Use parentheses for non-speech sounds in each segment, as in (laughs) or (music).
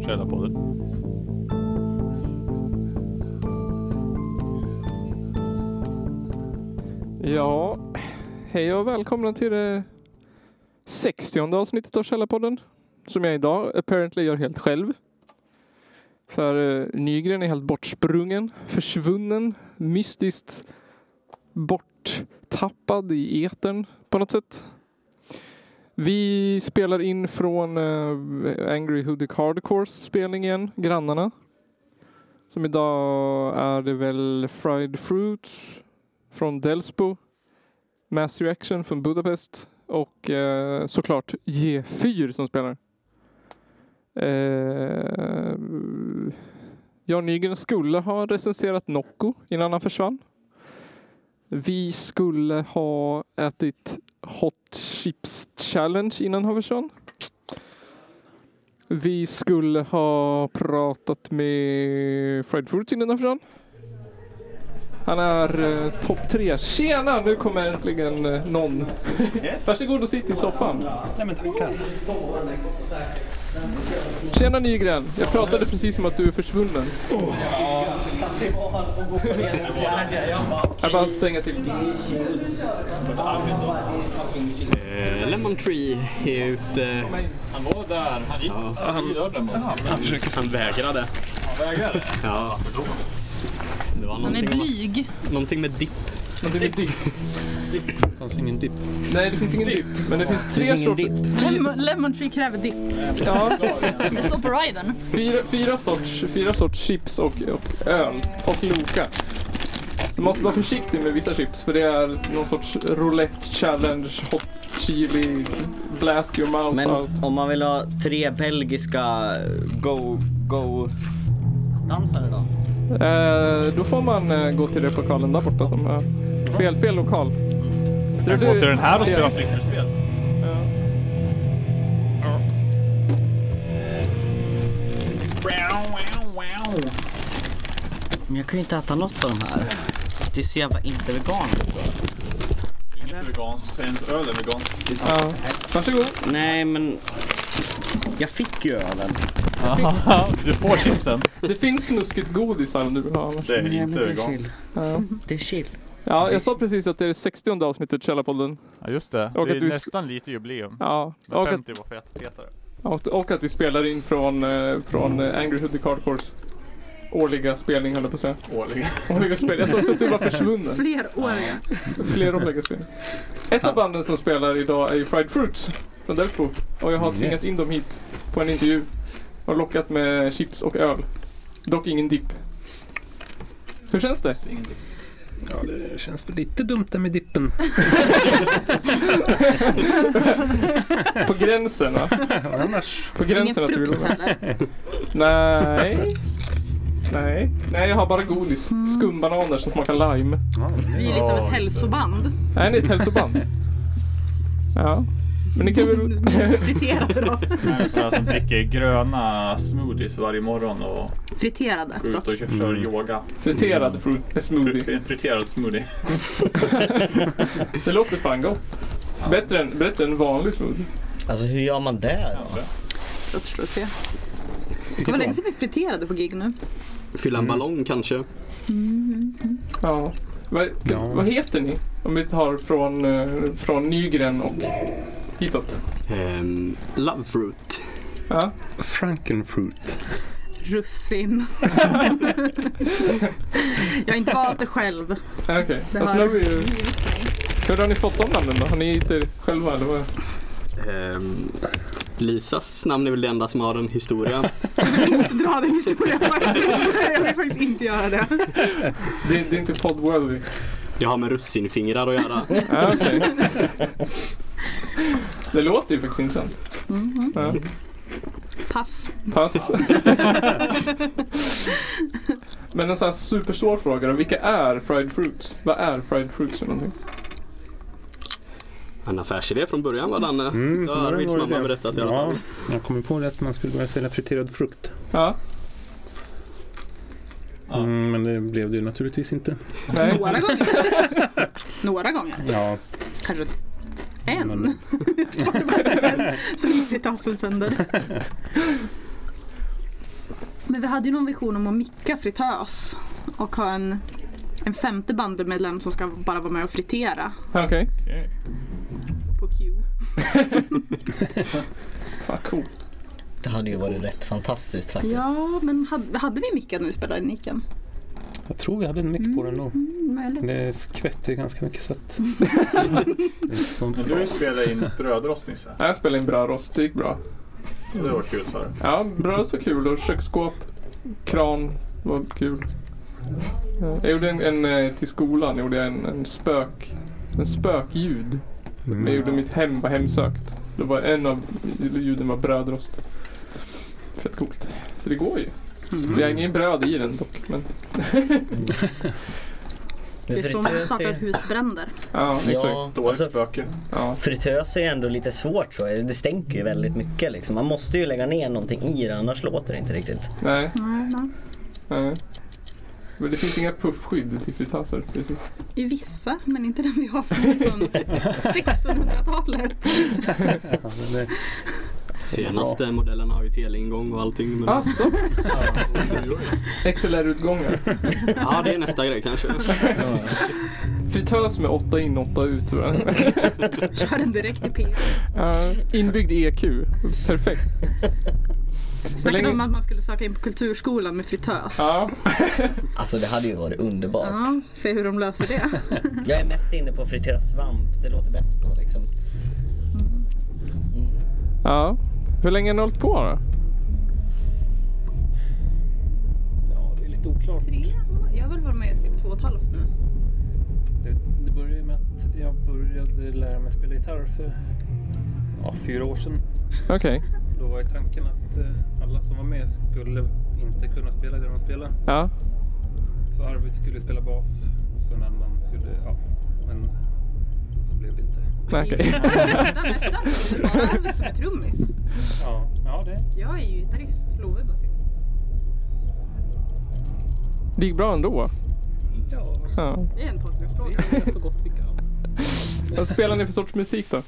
Källarpodden. Ja, hej och välkomna till det 60 avsnittet av Källarpodden. Som jag idag apparently gör helt själv. För eh, Nygren är helt bortsprungen, försvunnen, mystiskt borttappad i etern på något sätt. Vi spelar in från eh, Angry Hoodic Hardcores spelning igen, Grannarna. Som idag är det väl Fried Fruits från Delsbo, Mass Reaction från Budapest och eh, såklart G4 som spelar. Eh, Jan Nygren skulle ha recenserat Nocco innan han försvann. Vi skulle ha ätit Hot Chips Challenge innan han försvann. Vi skulle ha pratat med Fred Fruits innan han försvann. Han är eh, topp tre. Tjena! Nu kommer äntligen eh, någon. Varsågod och sitt i soffan. Nej men tackar. Tjena Nygren! Jag pratade precis om att du är försvunnen. Jag bara stänger till. Eh, Lemon Tree är ute. Han var där. Han gick förbi dörren. Han försöker som vägrade. Vägrade. Ja. Det var Han är någonting, blyg. någonting med dipp. Men det är väl dipp? Det fanns ingen dipp. Nej, det finns ingen dipp. Men det finns tre finns ingen sorter. Lemon, lemon tree kräver dipp. Ja, (laughs) Det står på riden. fyra, fyra, sorts, fyra sorts chips och, och öl. Och Loka. Så man måste vara försiktig med vissa chips för det är någon sorts roulette challenge, hot chili, blast your mouth Men out. om man vill ha tre belgiska go, go dansare då? Eh, då får man eh, gå till replokalen där borta. Som, eh, fel, fel lokal. Du, Gå till den här och Ja. spela flipperspel. Ja. Men jag kan ju inte äta något av de här. Det är så jävla inte veganskt. Inget veganskt. Ens öl är veganskt. Ja. Varsågod. Nej men, jag fick ju ölen. (laughs) Du får chipsen. Det finns snuskigt godis här om du vill ha. Det är Nej, men inte det är veganskt. chill. Ja. Det är chill. ja, jag sa precis att det är det 60 avsnittet Källarpodden. Ja just det. Och det att är du- nästan lite jubileum. Ja. Men Och att, 50 var för att fetare. Mm. och, och att vi spelar in från, eh, från eh, Angry Hoodie Cardcores årliga spelning höll jag på att säga. Årligen. (laughs) Årliga spelning. Jag sa också att du var försvunnen. Fleråriga. Flera årliga spelningar. Ett av banden som spelar idag är ju Fried Fruits från Delsbo. Och jag har tvingat in dem hit på en intervju. Och lockat med chips och öl. Dock ingen dipp. Hur känns det? Ja, det känns väl lite dumt där med dippen. (laughs) På gränsen va? Annars. På Ingen gränsen att du vill frukt heller. Nej. Nej. Nej, jag har bara godis. Skumbananer som smakar lime. Mm. Vi är lite av ett hälsoband. Nej, ni är ett hälsoband. Ja. Men ni kan väl... Friterade då. Det är sådana som dricker gröna smoothies varje morgon och Friterade. går ut och kör, kör yoga. Mm. Friterad fruit smoothie. En friterad smoothie. Det låter fan gott. Bättre än, bättre än vanlig smoothie. Alltså hur gör man (laughs) det? då? Det återstår att se. Det var länge sedan vi friterade på gig nu. Fylla en ballong kanske? Ja. Vad, Ja. vad heter ni? Om vi tar från, eh, från Nygren och hitåt. Ehm, love fruit. Ja. Frankenfruit. (laughs) Russin. Jag har inte valt det själv. Ah, Okej. Det Och sen har har vi ju... givit mig. Hur har ni fått de namnen då? Har ni hittat er själva eller vad? Ehm, Lisas namn är väl det enda som har (laughs) en historia. Dra den historien faktiskt. Jag vill faktiskt inte göra det. Det, det är inte podd-worthy. Det har med russinfingrar att göra. (laughs) Ja, okej. Det låter ju faktiskt intressant. Mm. Ja, Mm-hmm. Pass. (laughs) pass. (laughs) Men en sån här supersvår fråga då. Vilka är fried fruits? Vad är fried fruits för någonting? En affärsidé från början var Danne. Mm, det har det Arvids var ju mamma det. berättat i alla Ja, fall. jag kommer på det att man skulle börja sälja friterad frukt. Ja, Ja. Mm, men det blev det ju naturligtvis inte. (laughs) nej. Några gånger. Några gånger. Ja, Kanske En? Men- (laughs) Så gick tassen sönder. Men vi hade ju någon vision om att micka fritös och ha en, en femte bandmedlem som ska bara vara med och fritera Okej. Okej. på Q. Fan, cool. Det hade ju varit rätt fantastiskt faktiskt. Ja, men hade, hade vi mickat när vi spelade i Niken? Jag tror vi hade en mick på den då. Mm, möjligt. Det skvätter ju ganska mycket så att... Det är sånt Men bra. du spelade in brödrost Nisse. Jag spelade in bra rost, det gick bra. Det var kul sa du. Ja, bra rost var kul och köksskåp, kran var kul. Ja, Jag gjorde en, en eh, till skolan, gjorde jag en, en spök, en spökljud. Jag Mm. gjorde mitt hem var hemsökt. Det var en av ljuden var brödrost. Fett coolt. Så det går ju. Vi har ingen bröd i den dock. Men, (laughs) Det är så man fritös startar är, husbränder. ja, exakt. ja, Dåligt alltså, spöke. Ja. fritös är ju ändå lite svårt så. Det stänker ju väldigt mycket liksom. Man måste ju lägga ner någonting i det annars låter det inte riktigt. Nej, Nej, nej. nej. Men det finns inga puffskydd till fritöser. Precis. I vissa, men inte den vi har från från (laughs) 1600-talet. Ja, men det- Senaste modellen har ju teleingång och allting. Men... (laughs) Alltså, Oj, oj, oj. XLR-utgångar. Ja, det är nästa grej kanske. Fritös med åtta in, åtta ut. tror jag. Kör den direkt i P. Ja, inbyggd EQ. Perfekt. Snackade länge- om att man skulle söka in på kulturskolan med fritös. Ja. Alltså det hade ju varit underbart. Ja, se hur de löser det. Jag är mest inne på fritera svamp. Det låter bäst då liksom. ja. Hur länge har ni hållit på då? ja, det är lite oklart. Tre år? Jag har väl varit med i typ två och ett halvt nu. Det, det började ju med att jag började lära mig spela gitarr för ja, fyra år sedan. Okej. Då var ju tanken att eh, alla som var med skulle inte kunna spela det de spelade. Ja. Så Arvid skulle spela bas och så en annan skulle, ja, men så blev det inte. Nej, (laughs) okej. Nästan, nästan. Det är bara Arvid som är trummis. Ja, ja det. Jag är ju gitarrist, Love är basist. Det gick bra ändå. Ja, Ja. Det är en tolkningsfråga. vi gör så gott vi kan. Vad spelar ni för sorts musik då?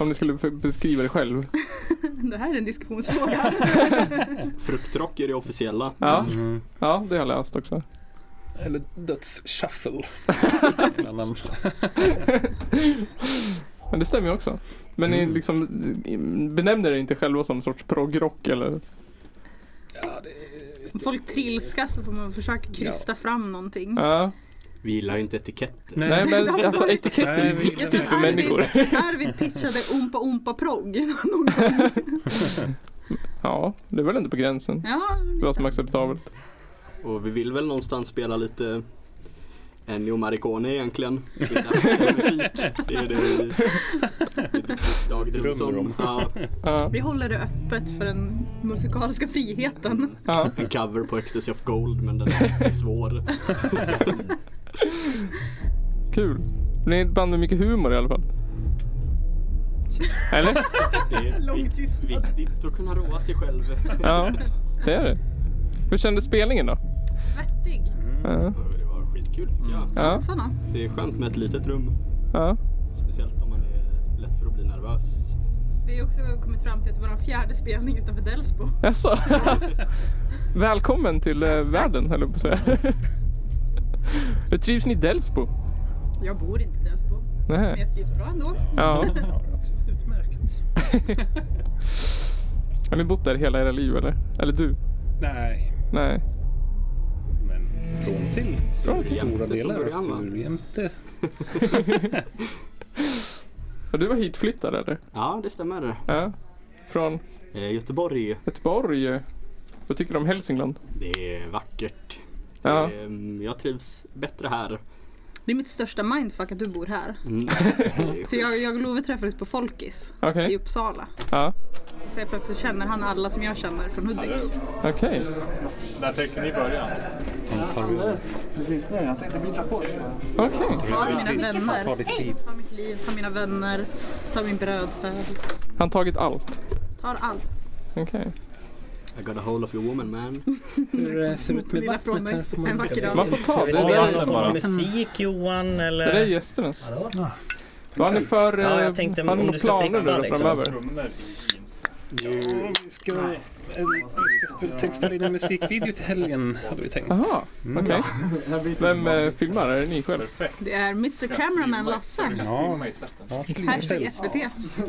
Om ni skulle f- beskriva det själv. (laughs) Det här är en diskussionsfråga. Fruktrock är det officiella. Ja, ja det har jag läst också. Eller dödsshuffle. (laughs) en annan. Men det stämmer ju också. Men ni liksom benämner er inte själva som sorts proggrock eller? Ja, det är... Om folk trilskar så får man försöka krysta fram någonting. Ja. Vi gillar ju inte etiketter. Nej men alltså etiketter är Nej, vi- viktigt för Arvid- människor. Arvid pitchade ompa ompa progg. (laughs) Ja, det är väl inte på gränsen. Ja, Vad som (laughs) är acceptabelt. Och vi vill väl någonstans spela lite Ennio Morricone egentligen. Det är dags för musik. Det är det vi det dagdrömmer som. Ja, Ja, vi håller det öppet för den musikaliska friheten. ja. en cover på Ecstasy of Gold men den är lite svår. Kul. Ni är ett band med mycket humor i alla fall. Eller? Det är Lång vik- tystnad. viktigt att kunna roa sig själv. Ja, det är det. Hur kändes spelningen då? Svettig. Ja, Det var skitkul tycker jag. Mm. ja. Fan. Mm. Det är skönt med ett litet rum. ja. Speciellt om man är lätt för att bli nervös. Vi har också kommit fram till att det var den fjärde spelning utanför Delsbo. Jaså? (laughs) Välkommen till eh, världen, höll jag på att säga. Hur trivs ni i Delsbo? (laughs) Jag bor inte i Delsbo, men Nej. jag trivs bra ändå. Ja. Ja, jag trivs utmärkt. (laughs) Har ni bott där hela era liv, eller? Eller du? Nej, Nej. men från till. Från Så till. stora Jämte delar av från början, va? Surjämte. Och du var hitflyttad, eller? Ja, det stämmer. Ja. Från Eh, Göteborg, Göteborg. Vad tycker du om Hälsingland? det är vackert. Ja. Eh, Jag trivs bättre här. (laughs) Det är mitt största mindfuck att du bor här. (laughs) Mm. För jag, jag och Love träffades på Folkis Okej. i Uppsala. Ja. Så jag plötsligt känner han alla som jag känner från Hudik. Okej. Där tänker ni början. Precis, nej jag tänkte byta kort. Okej. Ta mina vänner. Ta ditt liv. Ta mitt liv, ta mina vänner, ta min brödföd. Han tagit allt. Tar allt. Okej. I got a hole of your woman man. Hur det ser ut med Lilla från vattnet här mig får en man vacker dag. Man får ta. Ska vi Det där, spela någon form av musik Johan det där är eller? gästernas. (laughs) Vad har ni för eh, Ja, jag tänkte har ni om några du ska planer strippa, nu då liksom. framöver? Ja, vi ska, eh, vi ska spela, tänk spela in en musikvideo till helgen hade vi tänkt. Jaha, Mm. okej. (laughs) Vem eh, liksom. filmar? Är det ni själva? Det är Mr Cameraman Lasse. Hashtag SVT.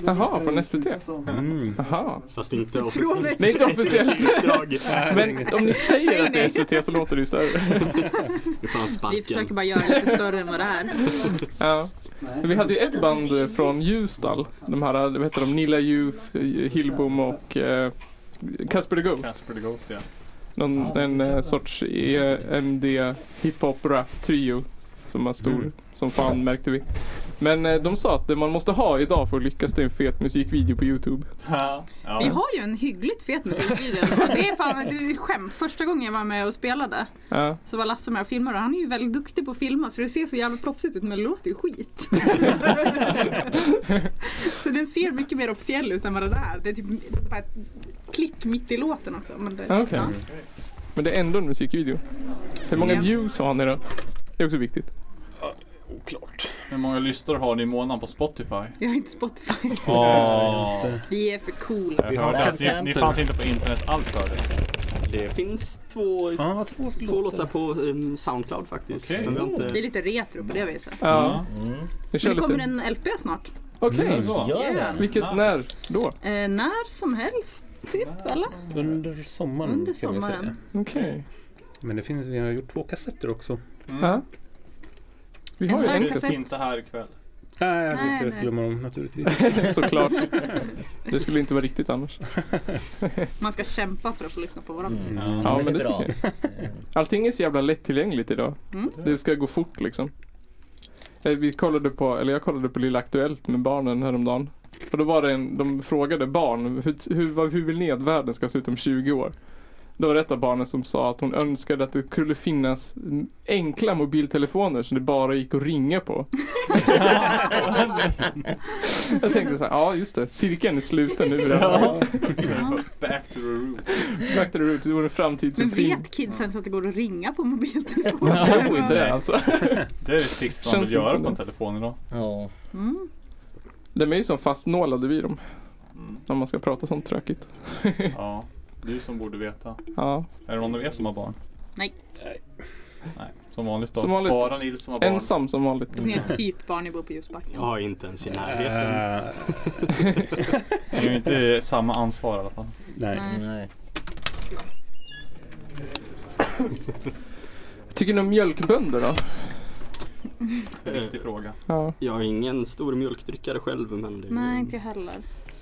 Jaha, från SVT? Jaha. Mm. Fast inte Från officiellt. Nej, SVT. inte (laughs) officiellt. Uppdrag. Men om ni säger att det är SVT så låter det ju (laughs) större. Du får han Vi sparken. försöker bara göra det lite större än vad det är. (laughs) Ja. Men Vi hade ju ett band eh, från Ljusdal. De här, eh, vad heter de? Nilla Youth, eh, Hillbom och eh, Casper the Ghost. Casper the Ghost ja. Någon, en eh, sorts EMD hiphop rap trio som var stor Mm. som fan märkte vi. Men eh, de sa att det man måste ha idag för att lyckas det är en fet musikvideo på Youtube. Ja. Vi har ju en hyggligt fet musikvideo. Det är fan det är ett skämt. Första gången jag var med och spelade Ja. så var Lasse med och filmade och han är ju väldigt duktig på att filma så det ser så jävla proffsigt ut men det låter ju (laughs) skit. så den ser mycket mer officiell ut än vad det där. Det är typ bara ett klick mitt i låten också. Men det, Ah, okej. ja. Men det är ändå en musikvideo. Hur många Ja. views har ni då? Det är också viktigt. Oklart. Hur många lyssnare har ni i månaden på (laughs) Spotify? Jag har inte Spotify. (laughs) Åh. Vi är för coola. Jag hörde att ni, ni Center. fanns inte på internet alls förut. Det finns två, Ja, två två låtar. låtar på um, Soundcloud faktiskt. Okej. Men vi har Vi är inte... lite retro på det viset. Ja. Vi kör Men det lite. kommer en LP snart. Okej. Mm, Är det så? Gör Yeah. den. Vilket, Ja. när då? Eh, när som helst, typ. Eller? Under sommaren Under kan vi säga. sommaren. Okej. Men det finns, vi har gjort två kassetter också. Mm. Ja. Vi har ju En en kassett. kassett. Finns inte här ikväll. Nej, jag vill Nej, inte det nej. skulle man om naturligtvis. (laughs) (laughs) Såklart. Det skulle inte vara riktigt annars. Man ska kämpa för att få lyssna på varandra. Mm. Ja, men men det det är bra. tycker jag. Allting är så jävla lättillgängligt idag. Mm. Det ska gå fort liksom. Eh, Vi kollade på, eller jag kollade på Lilla Aktuellt med barnen häromdagen. Och då var det en, de frågade barn, hur, hur, vad- hur vill ni att världen ska se ut om 20 år? Då var det ett av barnen som sa att hon önskade att det skulle finnas mm, enkla mobiltelefoner som det bara gick att ringa på. jag tänkte så här, ja just det, cirkeln är sluten nu. Ja. Back to the root. Back to the roots, det vore en framtid Men som Typ fin. vet kidsen så att det går att ringa på mobiltelefonen? Jag tror inte det alltså. Det är det sista man Känns vill inte göra som på en det. telefon idag. Ja. Mm. De är ju som fastnålade vid dem. Mm. När man ska prata sånt tråkigt. Ja. Du som borde veta. Ja. Är det någon av er som har barn? Nej. Nej. Nej. Som vanligt då. Som vanligt. Bara Nils som har barn. Mm. Ensam som vanligt. Så ni är typ barn i bor på Ljusbacken. Jag har inte ens i närheten. Äh, (laughs) Ni har ju inte samma ansvar i alla fall. nej. Nej. Nej. Tycker ni om mjölkbönder då? Eh, Viktig fråga. Ja. Jag är ingen stor mjölkdrickare själv men det är Nej, inte jag heller.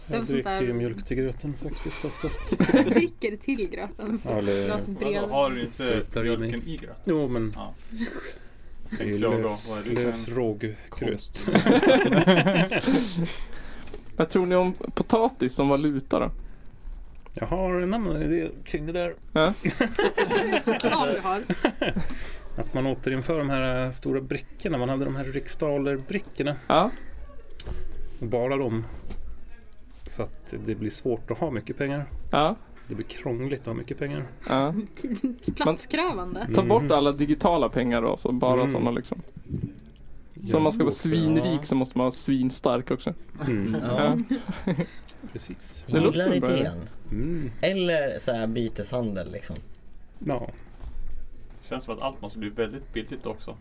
Det var sånt Jag dricker ju där- mjölk till gröten faktiskt oftast. Jag dricker till gröten. Ja, eller... Glaset Vadå, bredvid. har du inte Sörplar i mig. mjölken i gröten? Jo, men det är ju Tänkte jag då. lös, Vad är det lös för råggröt. konst? (laughs) Vad tror ni om potatis som valuta då? Jag har en annan idé (laughs) kring det där. Såklart du har. (laughs) (laughs) Att man återinför de här äh, stora brickorna. Man hade de här riksdaler-brickorna. Ja. Och bara dem. Så att det blir svårt att ha mycket pengar. Ja. Det blir krångligt att ha mycket pengar. ja. Platskrävande. Ta bort alla digitala pengar då. Så bara Mm. sådana liksom. Så om man ska vara svinrik så måste man vara svinstark också. Mm, Ja, precis. Det låter som gillar en bra idé. idén. Mm. Eller så här byteshandel liksom. Ja. Känns som att allt måste bli väldigt billigt också.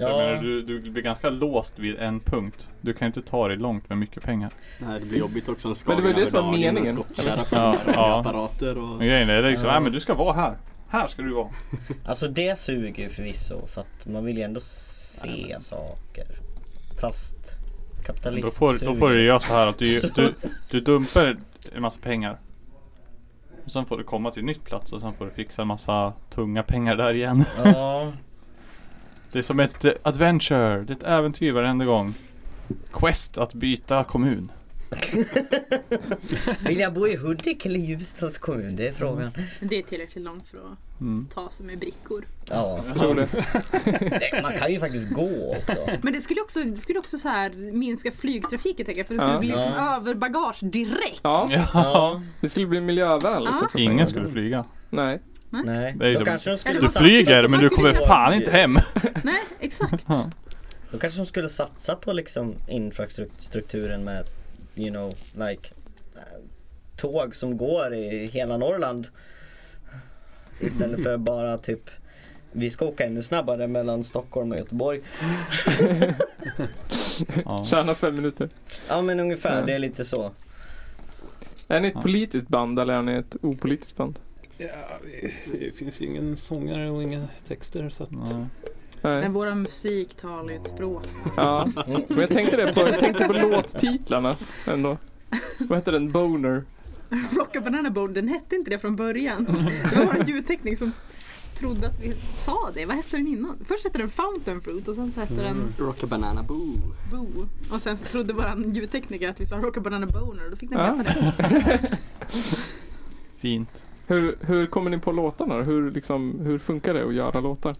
Jag menar, Ja, du, du blir ganska låst vid en punkt. Du kan ju inte ta dig långt med mycket pengar. Nej, det blir jobbigt också. Men det var ju det som var meningen. Skottkärra Ja, ja. ja. apparater och... Men grejen är det är liksom, Ja. nej men du ska vara här. Här ska du vara. (laughs) alltså det suger ju förvisso för att man vill ju ändå se saker. Fast kapitalism Då får, då suger. får du göra så här (laughs) att du, du, du dumpar en massa pengar. Och sen får du komma till en nytt plats och sen får du fixa en massa tunga pengar där igen. Ja, (laughs) Det är som ett eh, adventure, det är ett äventyr varenda gång. Quest att byta kommun. vill jag bo i Hudik eller Ljusdals kommun? Det är frågan. Det är tillräckligt långt för att Mm. ta sig med brickor. Ja, Jag tror det. (laughs) det- man kan ju faktiskt gå också. Men det skulle också, det skulle också så här minska flygtrafiken tänker jag. För det skulle Ja. bli liksom Ja. överbagage direkt. Ja. Ja, Det skulle bli miljövänligt Ja. också. Ingen skulle flyga. Nej. nej. Det är ju Då som- kanske de skulle... Eller Du vad fan, (laughs) flyger men du kommer fan inte hem. Nej, exakt. Då kanske de skulle satsa på liksom infrastrukturen med, you know, like eh, tåg som går i (laughs) hela Norrland. Mm. Istället för bara typ, vi ska åka ännu snabbare mellan Stockholm och Göteborg. Ja. (laughs) Tjäna fem minuter. Ja men ungefär, Ja. det är lite så. Är ni ett Ja. politiskt band eller är ni ett opolitiskt band? Ja, det finns ju ingen sångare och inga texter så att... Nej. Nej. Men våra musik talar ju ett språk. Ja. Mm. Men jag tänkte det på, jag tänkte på låttitlarna ändå. Vad heter den? Boner. Rocka Banana Boat, den hette inte det från början. Det var vår ljudteknik som trodde att vi sa det. Vad hette den innan? Först hette den Fountain Fruit och sen så hette den Rock a banana boo. Boo. Och sen så trodde vår ljudtekniker att vi sa Rocka Banana Boner och då fick den Ja. heta det. (laughs) (laughs) Fint. Hur, hur kommer ni på låtarna då? hur, liksom, hur funkar det att göra låtar?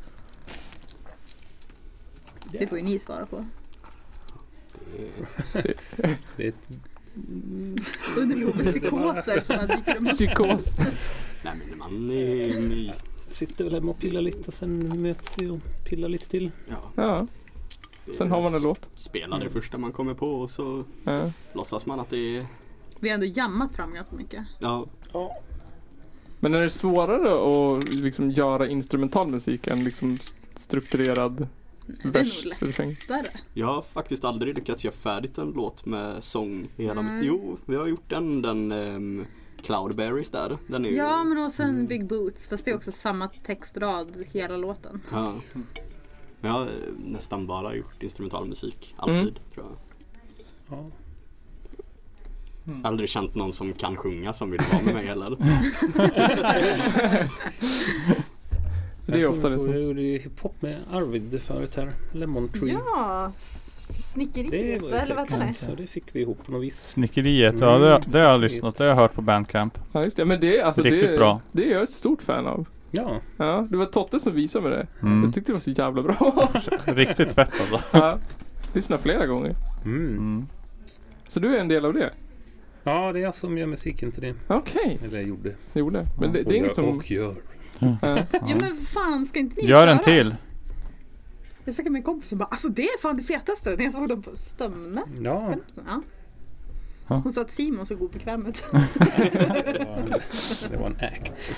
Det får ju ni svara på. Det är ett... Under jordens psykoser som bara dyker upp. Psykos. Nej men man är ny. Sitter väl hemma och pillar lite och sen möts vi och pillar lite till. Ja, Ja, det sen har man en låt. Spelar det första man kommer på och så Ja. låtsas man att det är... Vi har ändå jammat fram ganska mycket. Ja, Ja. Men är det svårare att liksom göra instrumental musik än liksom st- strukturerad nog vers? lätt. refräng? Där. jag har faktiskt aldrig lyckats göra färdigt en låt med sång i hela Nej. mitt... Jo, vi har gjort den, den ehm, Cloudberries där. Den är ju... Ja men och sen Big Boots. Fast det är också samma textrad hela låten. Ja. Men jag har eh, nästan bara gjort instrumentalmusik, alltid tror jag. ja. Aldrig känt någon som kan sjunga som vill vara med mig heller. (laughs) Det är Jag ofta kommer det på- som... Jag gjorde ju hiphop med Arvid förut här. Lemon Tree. Ja, Det var snickeriet. ju Eller vad det text. är. Så det fick vi ihop på något vis. Snickeriet, ja det, det har jag lyssnat, det har jag hört på bandcamp. Ja, just det. Men det, är- alltså, Riktigt det, är- bra. det är jag ett stort fan av. Ja. Ja, det var Totte som visade mig det. Mm. Jag tyckte det var så jävla bra. (laughs) Riktigt fett alltså. ja, lyssna flera gånger. Mm. Så (laughs) du är en del av det? Ja, det är jag som gör musiken till det. Okej, Eller jag gjorde. jo det. Men det, det är inget som... Och gör. Ja. Ja men fan ska inte ni Gör köra? en till. Jag snackade med en kompis och bara alltså det är fan det fetaste när jag såg dem på Stömne. Ja. Ja. Ja. Hon sa att Simon såg obekväm (laughs) ut. Det var en, det var en act.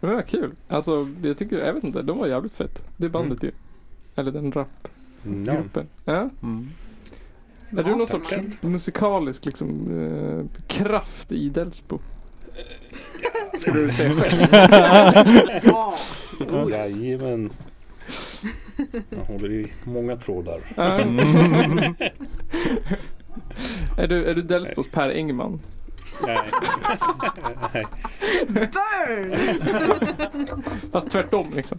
Men vad kul. Alltså, jag tycker, jag vet inte, de var jävligt fett. Det bandet ju. Eller den Ja. rapgruppen. Ja. Mm. Är du någon Awesome. sorts musikalisk liksom, eh, kraft i Delsbo? Eh, (laughs) Skulle du säga själv? Ja. (laughs) Jajamän. Man håller i många trådar. Ja. (laughs) är, du, är du Delsbos Per Engman? Nej. Nej. (laughs) Burn! (laughs) Fast tvärtom liksom.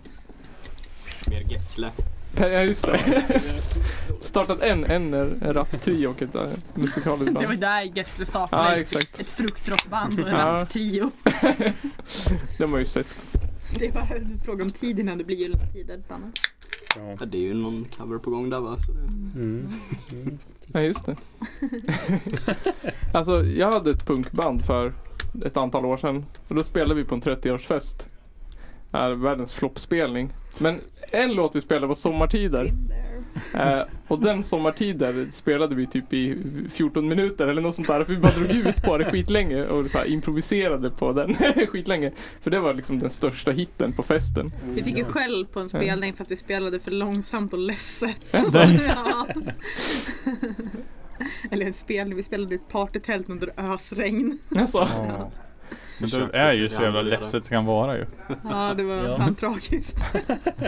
Mer Gessle. Per, ja just det. (laughs) Startat en, en är raptrio och ett eh, musikaliskt Det var band. där Gessle startade. Ja exakt. Ett fruktrockband och en Ja. (laughs) raptrio. De har ju sett. Det är bara en fråga om tid innan det blir jultid eller något annat. Ja. Ja, det är ju någon cover på gång där va? Så det... Mm. Ja just det. alltså jag hade ett punkband för ett antal år sedan. Och då spelade vi på en 30-årsfest. Är världens floppspelning. Men en låt vi spelade var Sommartider. In there. Eh, och den sommartiden spelade vi typ i 14 minuter eller något sånt där. För vi bara drog ut på det skitlänge och så här improviserade på den (laughs) skitlänge. För det var liksom den största hitten på festen. Vi fick ju skäll på en spelning för att vi spelade för långsamt och ledset. (laughs) Ja. Eller en spelning, vi spelade i ett partytält under ösregn. Alltså, Ja. Men du är ju så jävla ledset det kan vara ju. Ja, det var Ja. fan tragiskt.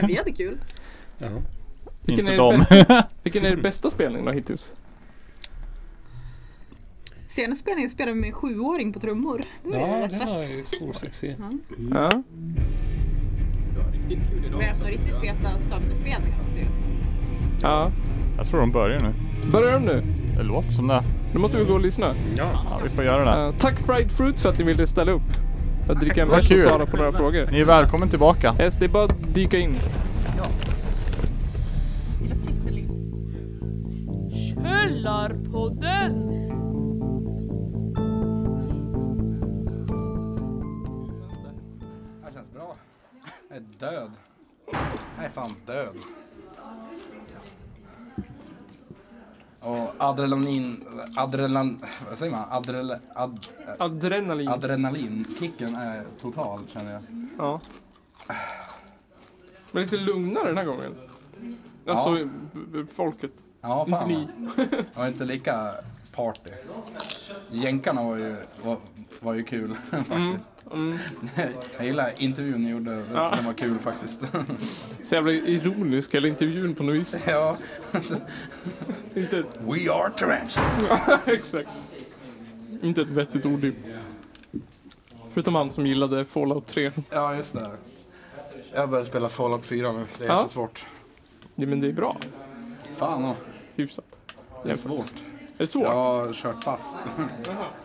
Vi hade kul. Ja. vilken, Inte är er dem. bästa, (laughs) vilken är er bästa spelning då hittills? Senaste spelningen spelade vi med en sjuåring på trummor. Det var ja, rätt det var fett. ju stor succé. Ja. Det var riktigt kul idag. Vi har haft några alltså, riktigt feta stamspelningar också ju. ja. Jag tror de börjar nu. Börjar de nu? Det låter som det. Nu måste vi gå och lyssna. Ja, vi får göra det. Eh, tack Fried Fruit för att ni ville ställa upp. Jag dricker en Vad bärs och kul. svara på några frågor. Ni är välkommen tillbaka. Yes, det är bara att dyka in. Källarpodden! Det här känns bra. Jag är död. Jag är fan död. Och adrenalin... Adrenalin... Vad säger man? Adrenal... Ad, Adrenalin. adrenalinkicken är total känner jag. ja. Men lite lugnare den här gången. Alltså b- b- folket. Ja, Inte fan. ni. (laughs) Det var inte lika party. Jänkarna var ju, var, var ju kul (laughs) faktiskt. Mm. Jag gillar intervjun ni gjorde. Den Ja. den var kul faktiskt. (laughs) Så jävla ironisk hela intervjun på något vis. ja. Inte ett, We are tarantula. (laughs) exakt. Inte ett vettigt ord. ju. Förutom han som gillade Fallout 3. Ja, just det. Jag börjar spela Fallout 4 nu. Det är Ja. jättesvårt. Ja, men det är bra. Fan och, Hyfsat. Det är svårt. Är det svårt? Jag har kört fast.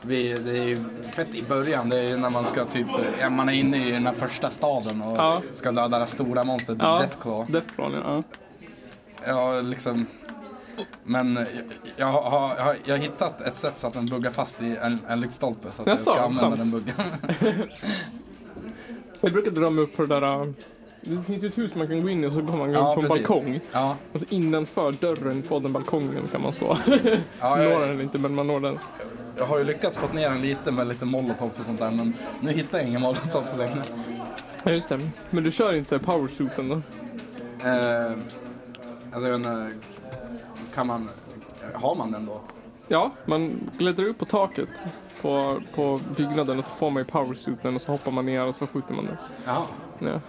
Vi, det är ju fett i början. Det är ju när man ska typ, ja, man är inne i den här första staden och Ja. ska döda det här stora monstret (laughs) Ja. Deathclaw. Deathclaw, ja. Ja, liksom. Men jag, jag, har, jag har jag har hittat ett sätt så att den buggar fast i en, en lyktstolpe. Så att jag Jaså, ska använda skönt. den buggen. (laughs) Jag brukar dra mig upp på det där... äh, Det finns ju ett hus man kan gå in i och så kommer man Ja, upp på en precis. balkong. Ja, Och så innanför dörren på den balkongen kan man stå. (laughs) ja Når jag, den inte, men man når den. jag har ju lyckats få ner den lite med lite molotovs och sånt där. Men nu hittar jag ingen molotovs längre. Ja, just det. Men du kör inte powersuiten då? Eh, alltså, jag vet inte, kan man... Har man den då? Ja, man klättrar upp på taket på, på byggnaden och så får man ju powersuiten och så hoppar man ner och så skjuter man den. Jaha, Ja.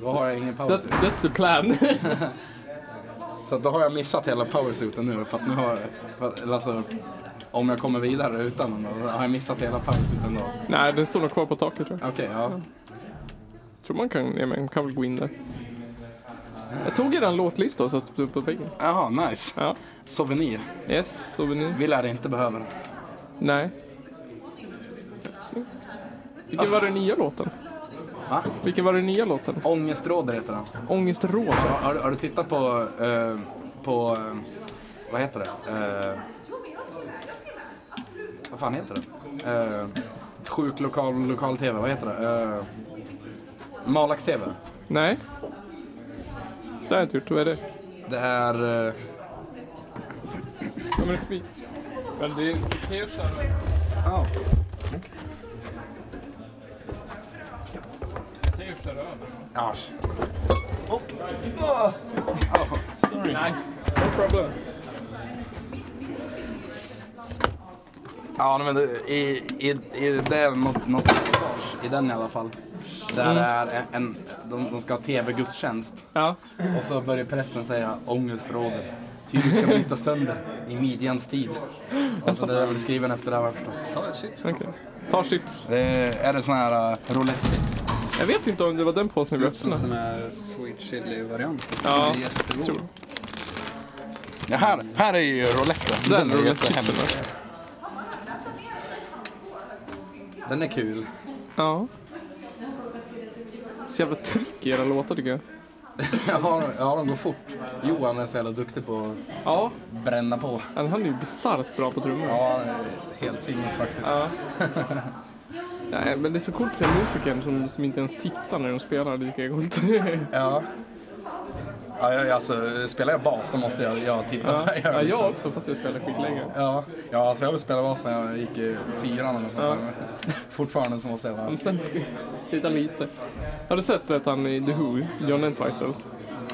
då har jag ingen That, powersuit. that's the plan. (laughs) Så att då har jag missat hela powersuiten nu. För att nu har jag, för att- eller alltså, om jag kommer vidare utan den då, har jag missat hela powersuiten då. Nej, den står nog kvar på taket tror jag. Okej, ja. Tror man kan, ja, men man kan väl gå in där. Jag tog er en låtlista och satte upp på väggen. Jaha, nice. Ja. Souvenir. Yes, souvenir. Vi lär inte behöva den. Nej. Snyggt. Vilken var den nya låten? Ah. Va? Vilken var den nya låten? Ångestråder heter den. Ångestråd. Har, har, du- har du tittat på, eh, på eh, vad heter det? Eh, vad fan heter det? Eh, sjuk lokal, lokal tv, vad heter det? Eh, Malax tv. Nej. Det har jag inte gjort. Vad är det? Det är... Eh, Kommer det förbi? Men det krävs här. ja. Krävs här över. Asch. Nice. No problem. Ja, men det- i, i, i, det är något, något i den i alla fall. Där Mm. är en, de, de ska ha tv-gudstjänst. Ja. Och så börjar prästen säga ångestråder. Ty du ska bryta sönder i midjans tid. Alltså det är väl skriven efter det här vad jag förstått. Ta ett chips. Okej. Ta chips. Det är, det sån här uh, roulette chips? Jag vet inte om det var den påsen vi Ser ut som en sån öppnade. här sweet chili-variant. Ja, jättegod. jag tror det. Ja, här, här är ju rouletten. Den är jättehemsk. Den är kul. Ja. Så jävla tryck i era (laughs) låtar tycker jag. ja, ja, de går fort. Johan är så jävla duktig på att Ja, bränna på. men han är ju bisarrt bra på trummor. Ja, han är helt sinnes faktiskt. Ja. (laughs) (laughs) Nej, men det är så coolt att se musikern som, som inte ens tittar när de spelar. Det tycker jag är coolt. (laughs) Ja. ja jag, alltså, spelar jag bas då måste jag, jag titta Ja, vad (laughs) jag gör. ja, jag liksom. också fast jag spelar skitlänge. Ja, ja alltså jag har spelat bas när jag gick i fyran eller sånt där. men (laughs) Fortfarande så måste jag vara... Men sen tittar lite. Har du sett vet, han i The Who, John Entwistle?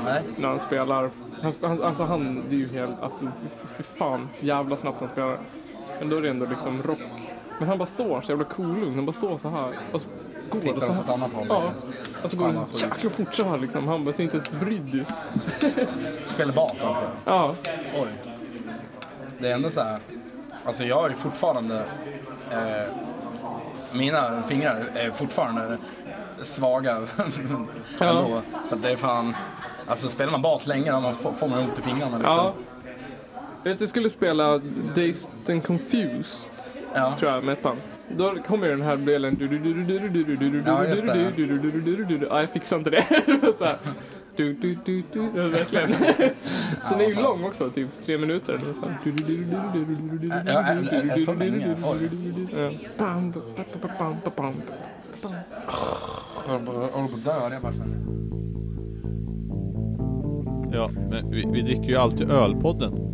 Nej. När han spelar. Han, han, alltså han, det är ju helt, alltså fy- fy fan jävla snabbt han spelar. Men då är det ändå liksom rock. Men han bara står så jävla cool Han bara står så här. Och så går Tittar det så åt här. ett annat håll. liksom. Ja. Och så går Fan, det vad så sjukt. jäkla fort så här liksom. Han bara ser inte ens brydd ut. Spelar bas alltså. Ja. Oj. Det är ändå så här... Alltså jag är ju fortfarande... Eh, mina fingrar är fortfarande svaga (laughs) ändå. Ja. För att det är fan... Alltså spelar man bas länge då man får, får man ont i fingrarna liksom. Ja. Jag vet, jag skulle spela Dazed and Confused, Ja. tror jag, med ett band. Då kommer ju den här delen. du- du- du- du- du- du- du- du- du- du- Ja, just det, ja. du- du- du- du- du- du- du- du- Ja, jag fixar inte det. Det var så här. Du, du, du, du, det var verkligen. Den är ju fan. lång också, typ tre minuter. Det är så här. Du- du- du- du- du- du- du- du- du- Ja, är- är- är det så länge? Oj. Ja. Bam, ba, ba, ba, bam, ba, bam. Jag håller på att dö. Jag bara känner. Ja, men vi, vi dricker ju alltid ölpodden.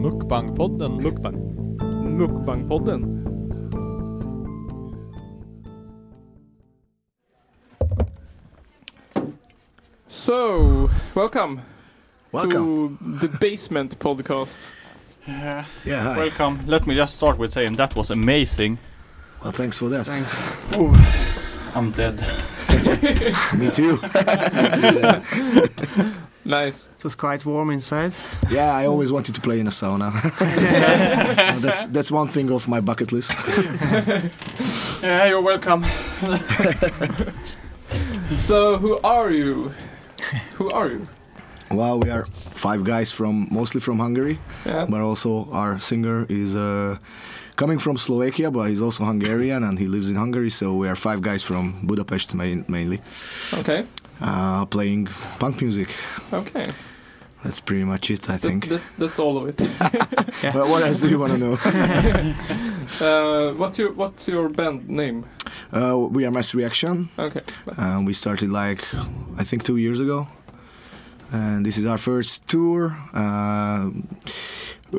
Mukbangpodden. Mukbang. Mukbangpodden. So, welcome, to the basement podcast. Yeah, hi. Welcome. Let me just start with saying that was amazing. Well, thanks for that. Thanks. I'm dead. (laughs) Me too. Nice. It was quite warm inside. yeah, I always wanted to play in a sauna. Uh, that's that's one thing off my bucket list. (laughs) Yeah, you're welcome. (laughs) So, who are you? Who are you? Well, we are five guys from mostly from Hungary, Yeah. but also our singer is uh, coming from Slovakia, but he's also Hungarian and he lives in Hungary. So we are five guys from Budapest main, mainly Okay. uh, playing punk music. Okay. That's pretty much it, I That, think. that, that's all of it. (laughs) Well, what else do you want to know? (laughs) Uh, what's your What's your band name? Uh, we are Mass Reaction. Okay. Um, we started like I think two years ago, and this is our first tour. Um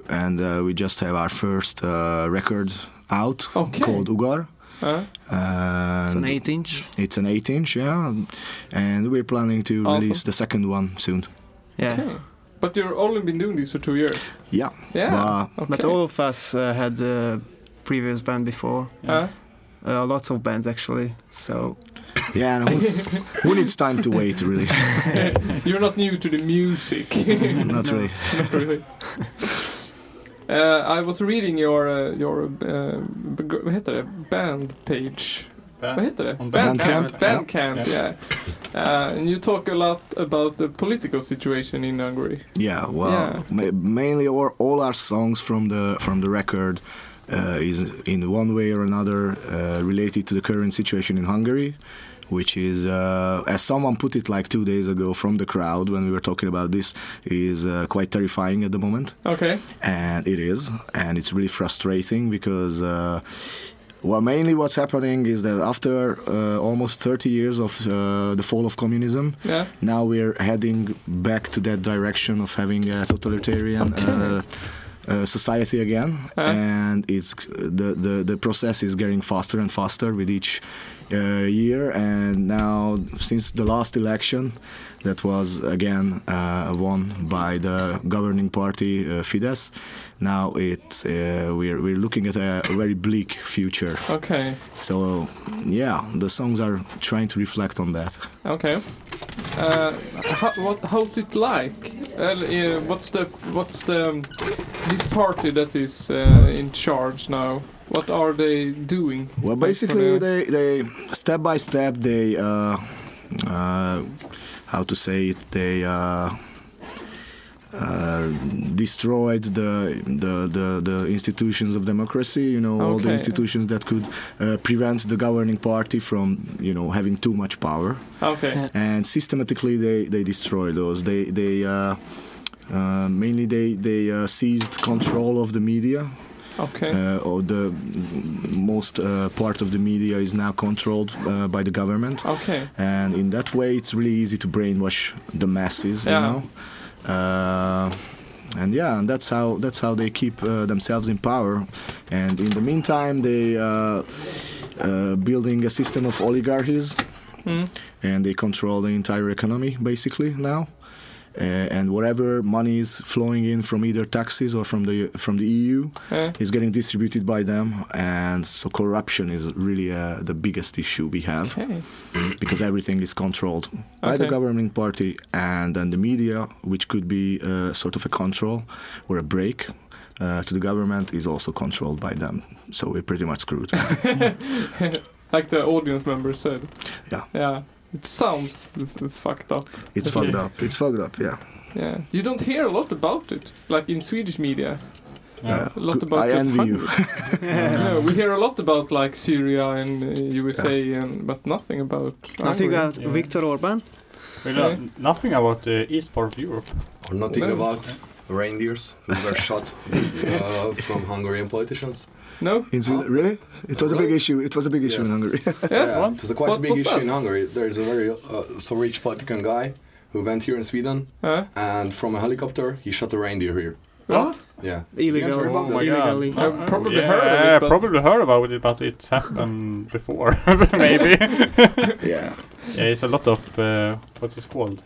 and uh, we just have our first uh, record out Okay. called Ugar. Uh, And It's an 8 inch. it's an 8 inch, yeah. And we're planning to Awesome. release the second one soon. Yeah. okay. But you've only been doing this for two years. Yeah. Yeah. But- okay. But all of us uh, had a previous band before. Uh, Uh, lots of bands actually. So Yeah, and who, who needs time to wait, really? (laughs) (laughs) You're not new to the music. (laughs) Not really. (laughs) Not really. Uh, I was reading your, uh, your uh, beg- vad heter det? Band page. Vad heter det? Bandcamp. Bandcamp. Bandcamp, yeah. Uh, and you talk a lot about the political situation in Hungary. Yeah, well, Yeah. Ma- mainly all, all our songs from the from the record uh, is in one way or another uh, related to the current situation in Hungary, which is, uh, as someone put it like two days ago from the crowd when we were talking about this, is uh, quite terrifying at the moment, Okay. and it is, and it's really frustrating because. Uh, well, mainly what's happening is that after uh, almost 30 years of uh, the fall of communism, Yeah. now we're heading back to that direction of having a totalitarian uh, uh, society again, Uh. and it's the, the the process is getting faster and faster with each uh, year. And now, since the last election, that was again uh, won by the governing party uh, Fidesz, now it uh, we're we're looking at a very bleak future. Okay. So yeah, the songs are trying to reflect on that. Okay. Uh, how, what, how's it like? Well, uh, what's the what's the um, this party that is uh, in charge now? What are they doing? Well, Like basically, for the- they, they step by step they uh, uh, how to say it they uh, uh, destroyed the, the the the institutions of democracy. You know, all the Okay. institutions that could uh, prevent the governing party from you know having too much power Okay. and systematically they, they destroy those. They they uh, uh, mainly they they uh, seized control of the media Okay. Uh, or the most uh, part of the media is now controlled uh, by the government. Okay. And in that way, it's really easy to brainwash the masses. Yeah. You know. Uh, and yeah, and that's how that's how they keep uh, themselves in power. And in the meantime, they uh, uh, building a system of oligarchies, Mm. and they control the entire economy basically now. Uh, and whatever money is flowing in from either taxes or from the from the EU Yeah. is getting distributed by them, and so corruption is really uh, the biggest issue we have Okay. because everything is controlled by the Okay. governing party and then the media, which could be uh, sort of a control or a break uh, to the government, is also controlled by them. So we're pretty much screwed. like the audience member said. Yeah. Yeah. It sounds f- f- (laughs) fucked up. it's (laughs) fucked up. It's fucked up. Yeah. Yeah. You don't hear a lot about it, like in Swedish media. Yeah. A lot Uh, Good- about I just envy hunger. you. (laughs) yeah, we hear a lot about like Syria and uh, USA, and but nothing about. Nothing Hungary. about Viktor Orban. We don't, nothing about the east part of Europe. Or nothing No. about reindeers who were shot uh, from Hungarian politicians. No. In Sweden, really? It was a big issue. It was a big issue in Yes. Hungary. Yeah, it was a quite What a big was issue that? in Hungary. There is a very uh, so rich political guy who went here in Sweden Huh? and from a helicopter he shot a reindeer here. What? Yeah. Illegal. Yeah, Oh my illegally. god. I probably yeah, heard of it, but- probably heard about it, but it's (laughs) happened before, (laughs) maybe. yeah. yeah, it's a lot of uh, what is called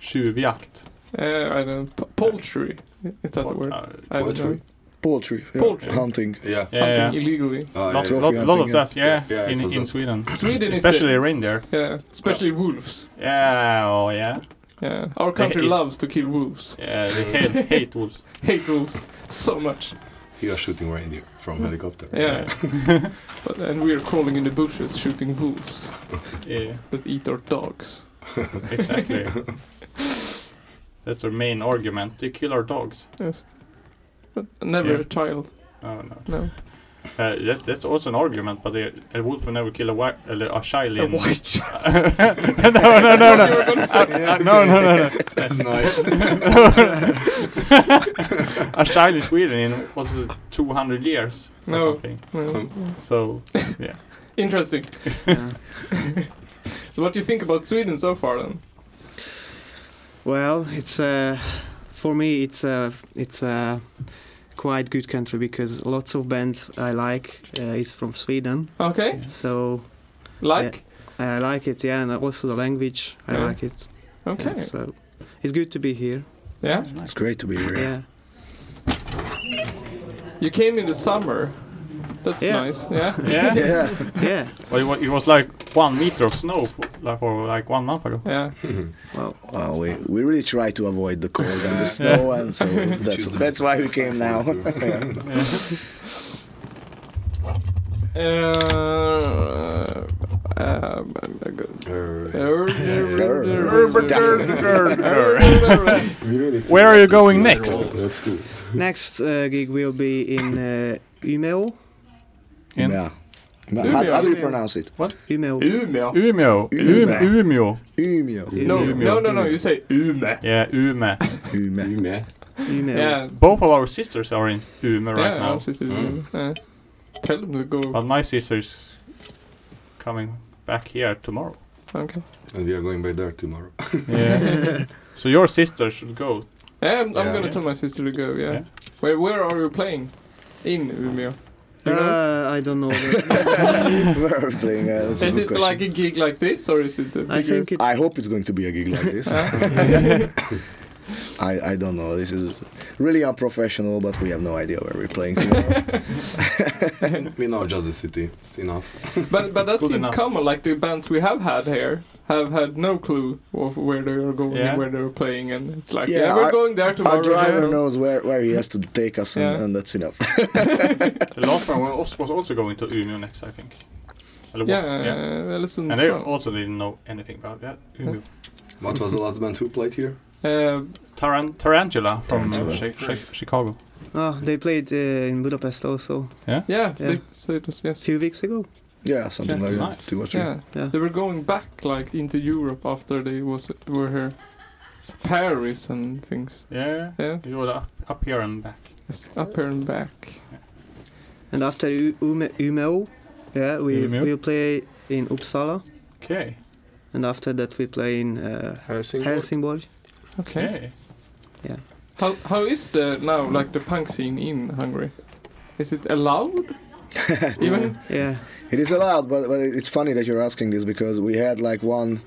tjuvjakt. Uh, I don't. P- poultry. Is that the word? Uh, I don't Poultry? know. Poultry. yeah. Poultry. Hunting. Yeah. yeah, Ah, yeah. Hunting illegally. Uh, lot, yeah. lot, lot of hunting, that, yeah, Yeah, it in, was in a- Sweden. Sweden is. Especially a- reindeer. Yeah. Especially wolves. Yeah, oh yeah. Yeah. Our country it- loves to kill wolves. Yeah, they hate, hate wolves. (laughs) Hate wolves so much. He was shooting reindeer from helicopter. (laughs) Yeah. (laughs) but and we are crawling in the bushes shooting wolves Yeah, that eat our dogs. exactly. That's our main argument. They kill our dogs. (laughs) Yes. But never Yeah. a child. Oh no. No. Uh, that, that's also an argument, but a, a wolf will never kill a, wi- a, a child A in... (laughs) white child. no, no, no, no. You were gonna say. Uh, no, no, no, no. That's nice. (laughs) a child in Sweden in was it 200 years or No. something. No. So Interesting. (laughs) so what do you think about Sweden so far then? Well, it's uh, for me it's a it's a quite good country because lots of bands I like uh, is from Sweden, Okay. so Like? I like it. Yeah, and also the language I Yeah. like it. Yeah, Okay. so it's good to be here. Yeah. It's great to be here. Yeah. You came in the summer. That's Yeah. nice. Yeah. yeah, Yeah. Yeah. Well, it, wa- it was like one meter of snow for like, for like one month ago. Yeah. Well, Well, we, we really try to avoid the cold and (laughs) the snow, and so that's, Choose the that's why we best came now. stuff (laughs) for it, too. Uh, um, Uh, Where are you going next? That's cool. next uh, gig will be in uh, Umeå. In- Yeah. No, how, how do you pronounce it? Umeå. Umeå. Umeå. Ume. Ume- Umeå. Umeå. No, Umeå. no, no, no. You say Ume. Yeah, er Ume. Ume. Umeå. Yeah. Both of our sisters are in Ume right yeah, now, it's just Umeå. Yeah. Tell them to go. but my sister's coming back here tomorrow. Okay. And we are (laughs) going by there tomorrow. (laughs) Yeah. so your sister should go. Yeah, I'm, I'm Yeah. gonna tell my sister to go. Yeah. Yeah. Where Where are you playing? In Umeå. You know? Uh, I don't know. (laughs) (laughs) Where are we playing? Uh, that's a Is good it question. like a gig like this, or is it? A I bigger- think it. I hope it's going to be a gig like (laughs) this. I, I don't know. This is really unprofessional, but we have no idea where we're (laughs) playing tomorrow. We know just the city. It's enough. But but that Good seems enough. common. Like the bands we have had here have had no clue of where they are going, Yeah. where they are playing, and it's like yeah, Yeah, we're our- going there tomorrow. Our driver yeah. knows where, where he has to take us, and, Yeah. and that's enough. The last one was was also going to Umeå next, I think. Eller was, Yeah, yeah. listen. And they so- also didn't know anything about that. Umeå. What was (laughs) the last band who played here? uh, Taran- tarantula from uh, Tarantula. Chi- Chi- Chicago. Oh, they played uh, in Budapest also yeah, Yeah. They said it, yes. two weeks ago. yeah, something Yeah. like Nice. that. Two or three. Yeah. Yeah. they were going back like into Europe after they was were here, Paris and things. Yeah. Yeah, You were up, up here and back. yes, up here and back. and after U- Ume- Umeå, yeah, we Umeå. will play in Uppsala, Okej. and after that we play in uh, Helsingborg. Helsingborg. Okay. Yeah. How how is the now like the punk scene in Hungary? Is it allowed? Even yeah. It is allowed, but, but it's funny that you're asking this because we had like one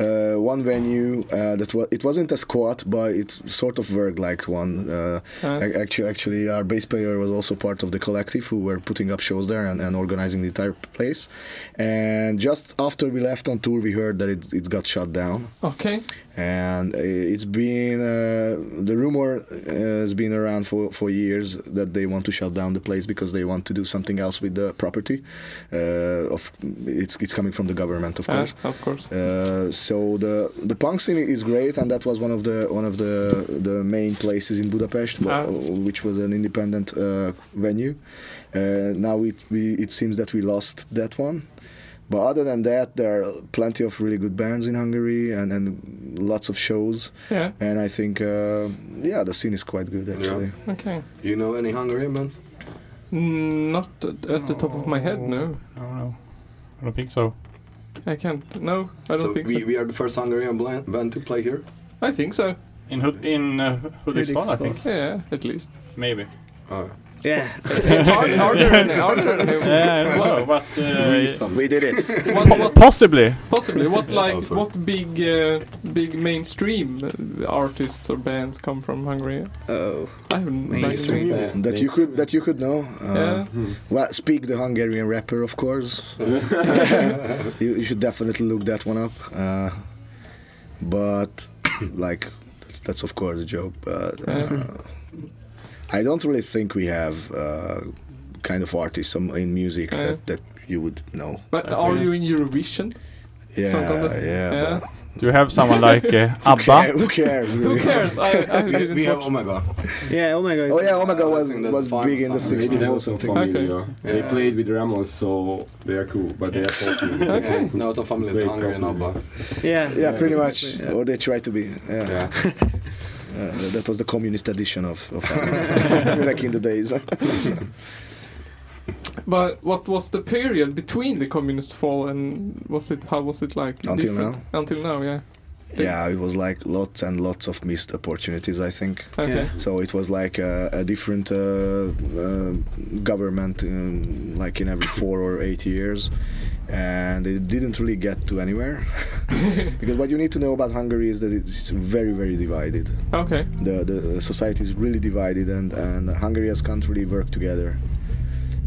uh, one venue uh, that was it wasn't a squat, but it's sort of work like one. Uh, Uh. actually, actually, our bass player was also part of the collective who were putting up shows there and, and organizing the entire place. And just after we left on tour, we heard that it it got shut down okay. and uh, it's been uh, the rumor uh, has been around for, for years that they want to shut down the place because they want to do something else with the property uh, of it's, it's coming from the government of Ah. Uh, course of course. uh, so the the punk scene is great, and that was one of the one of the the main places in Budapest, wh- Ah. which was an independent uh, venue. Uh, now it we, it seems that we lost that one. But other than that, there are plenty of really good bands in Hungary and, and lots of shows. Yeah. And I think, uh, yeah, the scene is quite good actually. Okay. You know any Hungarian bands? Mm, Not at, at the top of my head, no. I don't know. I don't think so. I can't. No, I don't so think we, so. we are the first Hungarian blan- band to play here. I think so. In Hud- in uh, Hudiksvall, I think. Yeah, at least. Maybe. Ah. Oh. Yeah. Are- are there any- are there any- Yeah, I don't know, but uh, We did it. What, what, possibly. possibly. What like Oh, sorry. what big uh, big mainstream uh, artists or bands come from Hungary? Oh, I haven't like, Mainstream really- That you could that you could know. Uh, Yeah. Well, speak the Hungarian rapper, of course. you, you should definitely look that one up. Uh, but (coughs) like, that's of course a joke. But uh, I don't really think we have uh, kind of artists some in music Yeah. that, that you would know. But are you in Eurovision? Yeah, Something that- yeah. yeah. (laughs) but Do you have someone like uh, (laughs) Who, care, ABBA? who cares? Who Really? cares? (laughs) I, I We, didn't we have watch- Omega. yeah. Oh my God. Oh yeah, Omega I was think that's was fine big in the or something. '60s or something. Okay. They Yeah. played with Ramos, so they are cool, but they are talking. Yeah. No, the family is the Great Hungarian ABBA. Yeah. Yeah, pretty much. Or they try to be. Yeah. Yeah. (laughs) Uh, th- that was the communist edition of, (laughs) of back in the days. (laughs) But what was the period between the communist fall and was it how was it like? Until different? Until now, yeah. yeah, it was like lots and lots of missed opportunities, I think. Okay. So it was like a, a different uh, uh, government, um, like in every four or eight years, and it didn't really get to anywhere. (laughs) because what you need to know about Hungary is that it's very, very divided. Okay. the, the society is really divided and, and Hungary as country work together.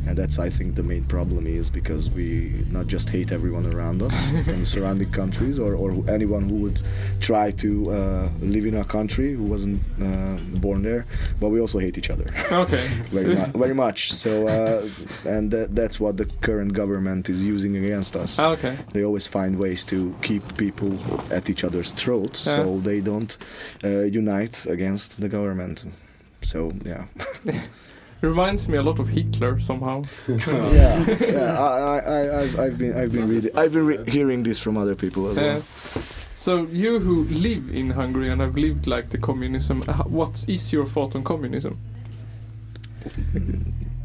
And that's, I think, the main problem is because we not just hate everyone around us (laughs) from surrounding countries or, or anyone who would try to uh, live in our country who wasn't uh, born there, but we also hate each other (laughs) Okay. very, mu- very much. So, uh, and that, that's what the current government is using against us Ah, okay. they always find ways to keep people at each other's throat so they don't uh, unite against the government so yeah Reminds me a lot of Hitler somehow. yeah, (laughs) yeah I, I, I, I've, I've been I've been reading I've been re- hearing this from other people as (laughs) Yeah. well So you who live in Hungary and have lived like the communism, h- what is your thought on communism?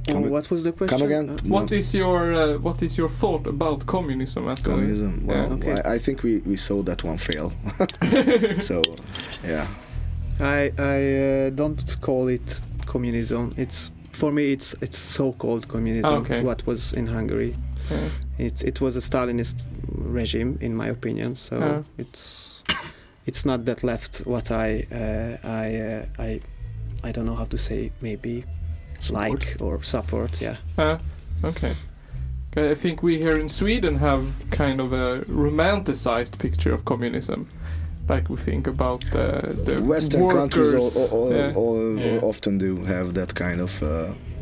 Oh, Come- what was the question? come again Uh, What is your uh, what is your thought about communism as a- communism well Yeah. Okay. I, I think we, we saw that one fail (laughs) (laughs) so yeah I I uh, don't call it communism. It's for me it's it's so-called communism. Okay. What was in Hungary, Yeah. it's it was a Stalinist regime in my opinion. So Yeah. it's it's not that left. What I uh, I uh, I I don't know how to say maybe like or support. Yeah. Ah, okay. 'Kay, I think we here in Sweden have kind of a romanticized picture of communism. Like we think about uh, the Western workers. countries all, all, all, yeah. all- Yeah. often do have that kind of uh,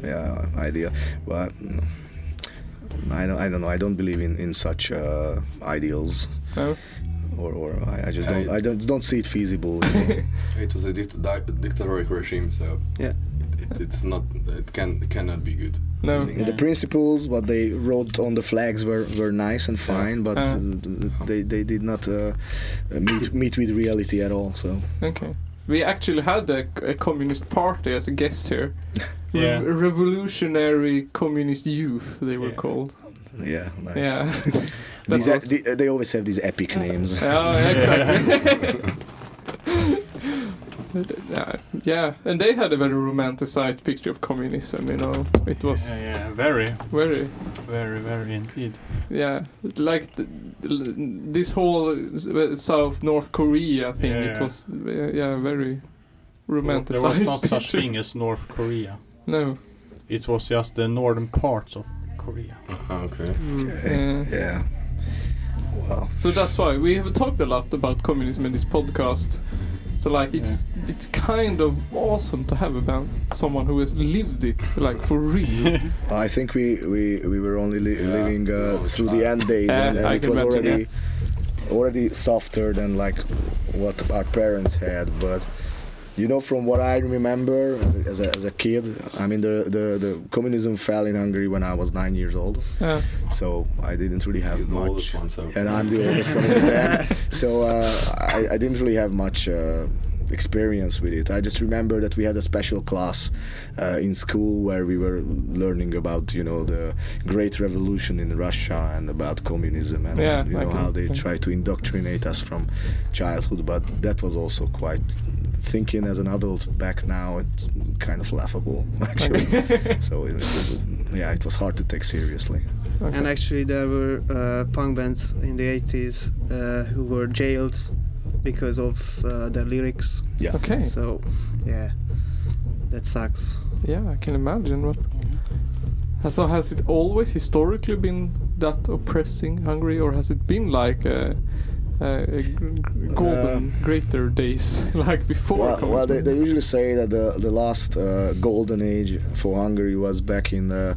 yeah idea, but mm, I don't I don't know I don't believe in in such uh, ideals. No? Or, or I, I just I- don't I don't don't see it feasible. you (laughs) know. It was a dict- di- dictatorial regime, so Yeah. it, it, it's not. It can cannot be good. No. I think. And The principles what they wrote on the flags were, were nice and fine, but Uh. uh, they, they did not uh, meet meet with reality at all. So Okay. we actually had a, a communist party as a guest (laughs) here. Re- Yeah. Revolutionary Communist Youth, they were called. Yeah, nice. (laughs) Yeah. (laughs) That these, e- the- they always have these epic names. (laughs) Oh, exactly. yeah, yeah, and they had a very romanticized picture of communism. You know, it was Yeah, yeah, very. very, Very, very indeed. yeah, like th- l- this whole s- uh, South North Korea thing. Yeah, It yeah. was uh, yeah, very romanticized. There was no (laughs) such picture. thing as North Korea. No. It was just the northern parts of Korea. Okay. Yeah. yeah. (laughs) Wow. So that's why we have talked a lot about communism in this podcast. So like it's it's kind of awesome to have about someone who has lived it like for real. (laughs) I think we we, we were only li- living uh, through the end days, Yeah, and, and I it can was imagine, already already softer than like what our parents had. But you know, from what I remember as a, as a, as a kid, I mean, the, the the communism fell in Hungary when I was nine years old. Yeah. So I didn't really have much. so. And I'm the oldest one in the band. So uh, I, I didn't really have much uh, experience with it. I just remember that we had a special class uh, in school where we were learning about, you know, the Great Revolution in Russia and about communism and, Yeah, you I know, can- how they yeah. try to indoctrinate us from childhood. But that was also quite thinking as an adult back now it's kind of laughable (laughs) actually so it was, yeah it was hard to take seriously And actually, there were uh, punk bands in the 80s uh, who were jailed because of uh, their lyrics. Yeah. Okay. So, yeah, that sucks. Yeah, I can imagine. What? So has it always historically been that oppressing Hungary, or has it been like a, a, a gr- gr- golden greater days (laughs) like before? Um, Well, well they, communism? they usually say that the, the last uh, golden age for Hungary was back in the uh,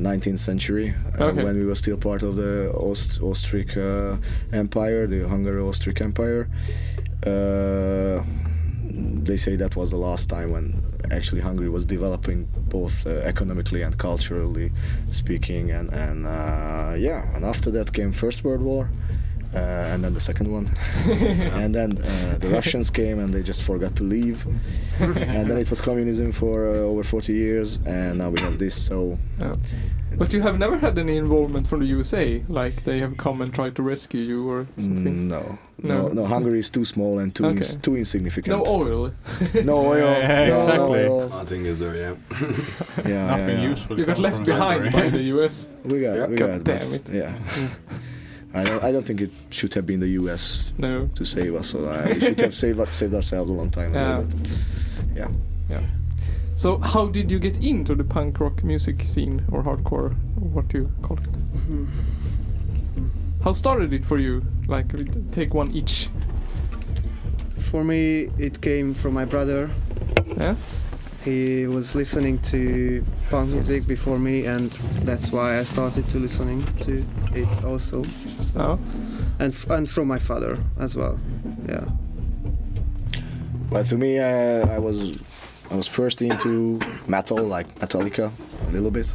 19th century uh, Okay. when we were still part of the Aust- Austric uh, Empire, the Hungary-Austric Empire. Uh, they say that was the last time when actually Hungary was developing both uh, economically and culturally speaking, and and uh, yeah, and after that came First World War. Uh, and then the second one, and then uh, the Russians came and they just forgot to leave, (laughs) and then it was communism for uh, over 40 years, and now we have this. So Yeah. But you have never had any involvement from the USA, like they have come and tried to rescue you or Mm, something. No, no, no, Hungary is too small and too ins- Okay. too insignificant. No (laughs) oil. No oil. Yeah, no exactly. oil. Nothing is there, yeah. Yeah, yeah, Nothing yeah. useful You got comes left from behind by Hungary. the US. (laughs) We got, we God got, but- damn it. Yeah. (laughs) I don't, I don't think it should have been the U.S. No. to save us. So uh, we should have (laughs) saved saved ourselves a long time Yeah. ago. But yeah. Yeah. So how did you get into the punk rock music scene or hardcore, or what do you call it? How started it for you? Like we t- take one each. For me, it came from my brother. Yeah. He was listening to punk music before me, and that's why I started to listening to it also. So. Oh. And f- and from my father as well. Yeah. Well, to me, uh, I was I was first into metal, like Metallica, a little bit,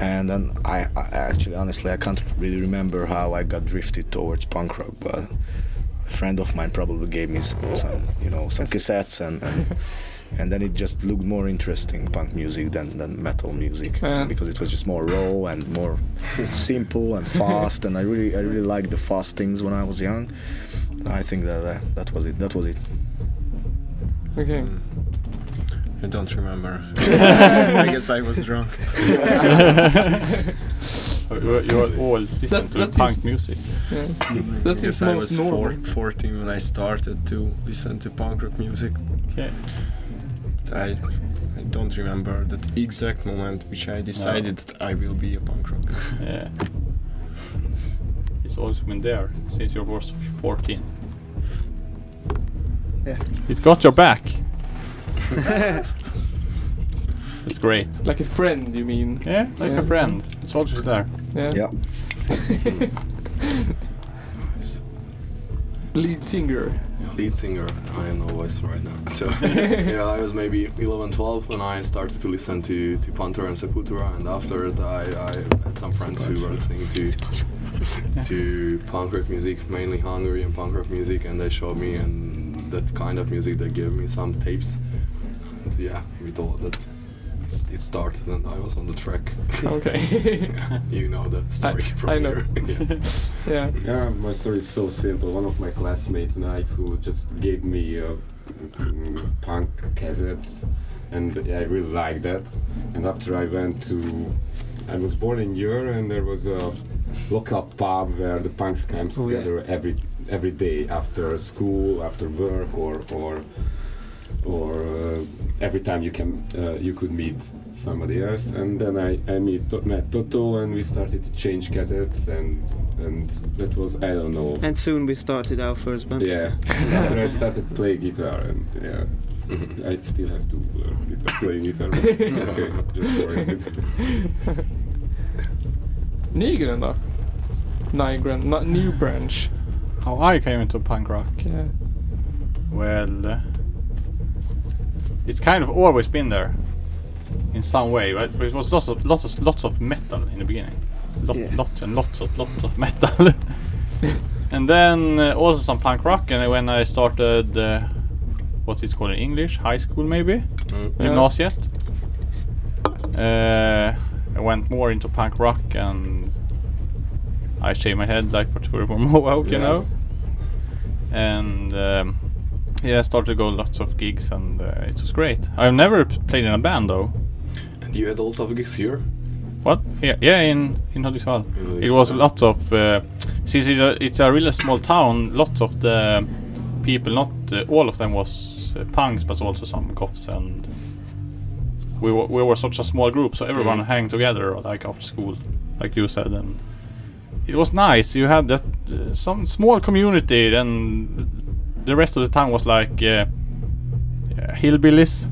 and then I, I actually, honestly, I can't really remember how I got drifted towards punk rock, but a friend of mine probably gave me some, some you know, some cassettes, and, and and then it just looked more interesting punk music than than metal music Yeah. because it was just more raw and more simple and fast, and I really I really liked the fast things when I was young. I think that uh, that was it. That was it. Okay. I don't (laughs) remember. I guess I was drunk. You- you all listen That- to that's punk it. music. Yeah. I guess That's his Mm-hmm. I most was normal. four, 14 when I started to listen to punk rock music. Okay. I, I don't remember that exact moment which I decided that I will be a punk rocker. Yeah. It's always been there since you were 14. Yeah. It (laughs) got your back. It's great. Like a friend, you mean? Yeah, like a friend. It's always there. Yeah. Yeah. Lead singer. Lead singer, I have no voice right (laughs) now. So yeah, I was maybe 11, 12 when I started to listen to, to Pantera and Sepultura, and after that I, I had some friends who were listening to to punk rock music, mainly Hungarian punk rock music, and they showed me and that kind of music. They gave me some tapes. And yeah, with all that, it's- it started, and I was on the track. Okay. (laughs) Yeah, you know the story from I know. here. (laughs) yeah. Yeah, my story is so simple. One of my classmates in high school just gave me uh, mm, punk cassettes, and I really liked that. And after I went to, I was born in Europe, and there was a local pub where the punks came Oh, yeah. together every every day after school, after work, or or or uh, every time you can uh, you could meet somebody else and then I, I meet, met Toto and we started to change cassettes and and that was I don't know And soon we started our first band. yeah after I started playing guitar and yeah I still have to learn guitar, play guitar but okay just worrying (laughs) Nygren då? Nygren, not new branch. How I came into punk rock. Yeah. Well, uh, it's kind of always been there in some way, but it was lots of lots of lots of metal in the beginning, lot, lots and lots of lots of metal, (laughs) and then uh, also some punk rock. And when I started, uh, what it's called in English, high school maybe, Yeah. gymnasiet, uh, I went more into punk rock and I shave my head like for three or (laughs) four mohawk, you Yeah. know. And um, yeah, I started to go lots of gigs and uh, it was great. I've never p- played in a band though. and you had a lot of gigs here What? Yeah, yeah, in in Hudiksvall. In It was Hudiksvall. lots of uh, since it's a, it's a really small town. Lots of the people, not uh, all of them, was uh, punks, but also some goths and. We were, we were such a small group, so everyone Mm. hang together like after school, like you said, and it was nice. You had that uh, some small community, and the rest of the town was like uh, uh, (laughs) hillbillies.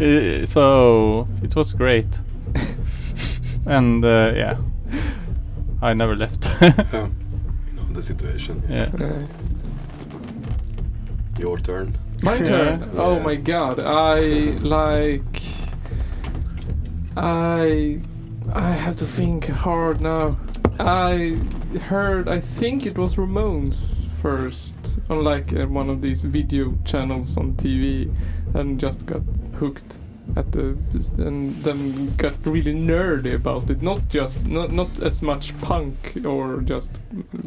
Uh, so it was great, and uh, yeah, I never (laughs) left. yeah you know the situation yeah. your turn My turn. Oh my god. I like. I. I have to think hard now. I heard. I think it was Ramones first on like uh, one of these video channels on TV, and just got hooked at the and then got really nerdy about it. Not just not not as much punk or just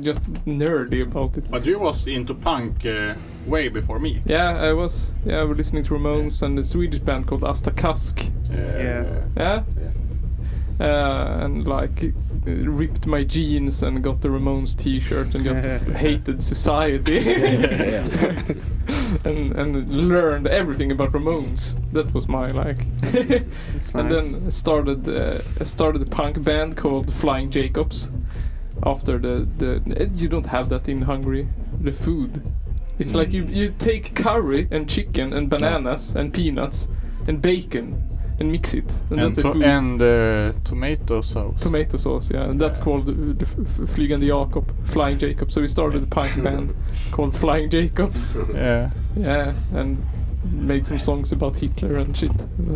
just nerdy about it. But you was into punk uh, way before me. Yeah, I was. Yeah, I was listening to Ramones and a Swedish band called Asta Kask. Yeah. Yeah? Uh, and like ripped my jeans and got the Ramones t-shirt and just hated society. (laughs) and and learned everything about Ramones. That was my like. (laughs) and nice. then started uh, I started a punk band called Flying Jacobs. After the the you don't have that in Hungary. The food. It's like you you take curry and chicken and bananas and peanuts and bacon and mix it and, And, that's the to- food. and uh, tomato sauce. Tomato sauce, yeah, and that's called uh, the f- f- Flygande Jakob, Flying Jacob. So we started a punk (laughs) band called Flying Jacobs. Yeah. Yeah, and made some songs about Hitler and shit. (laughs)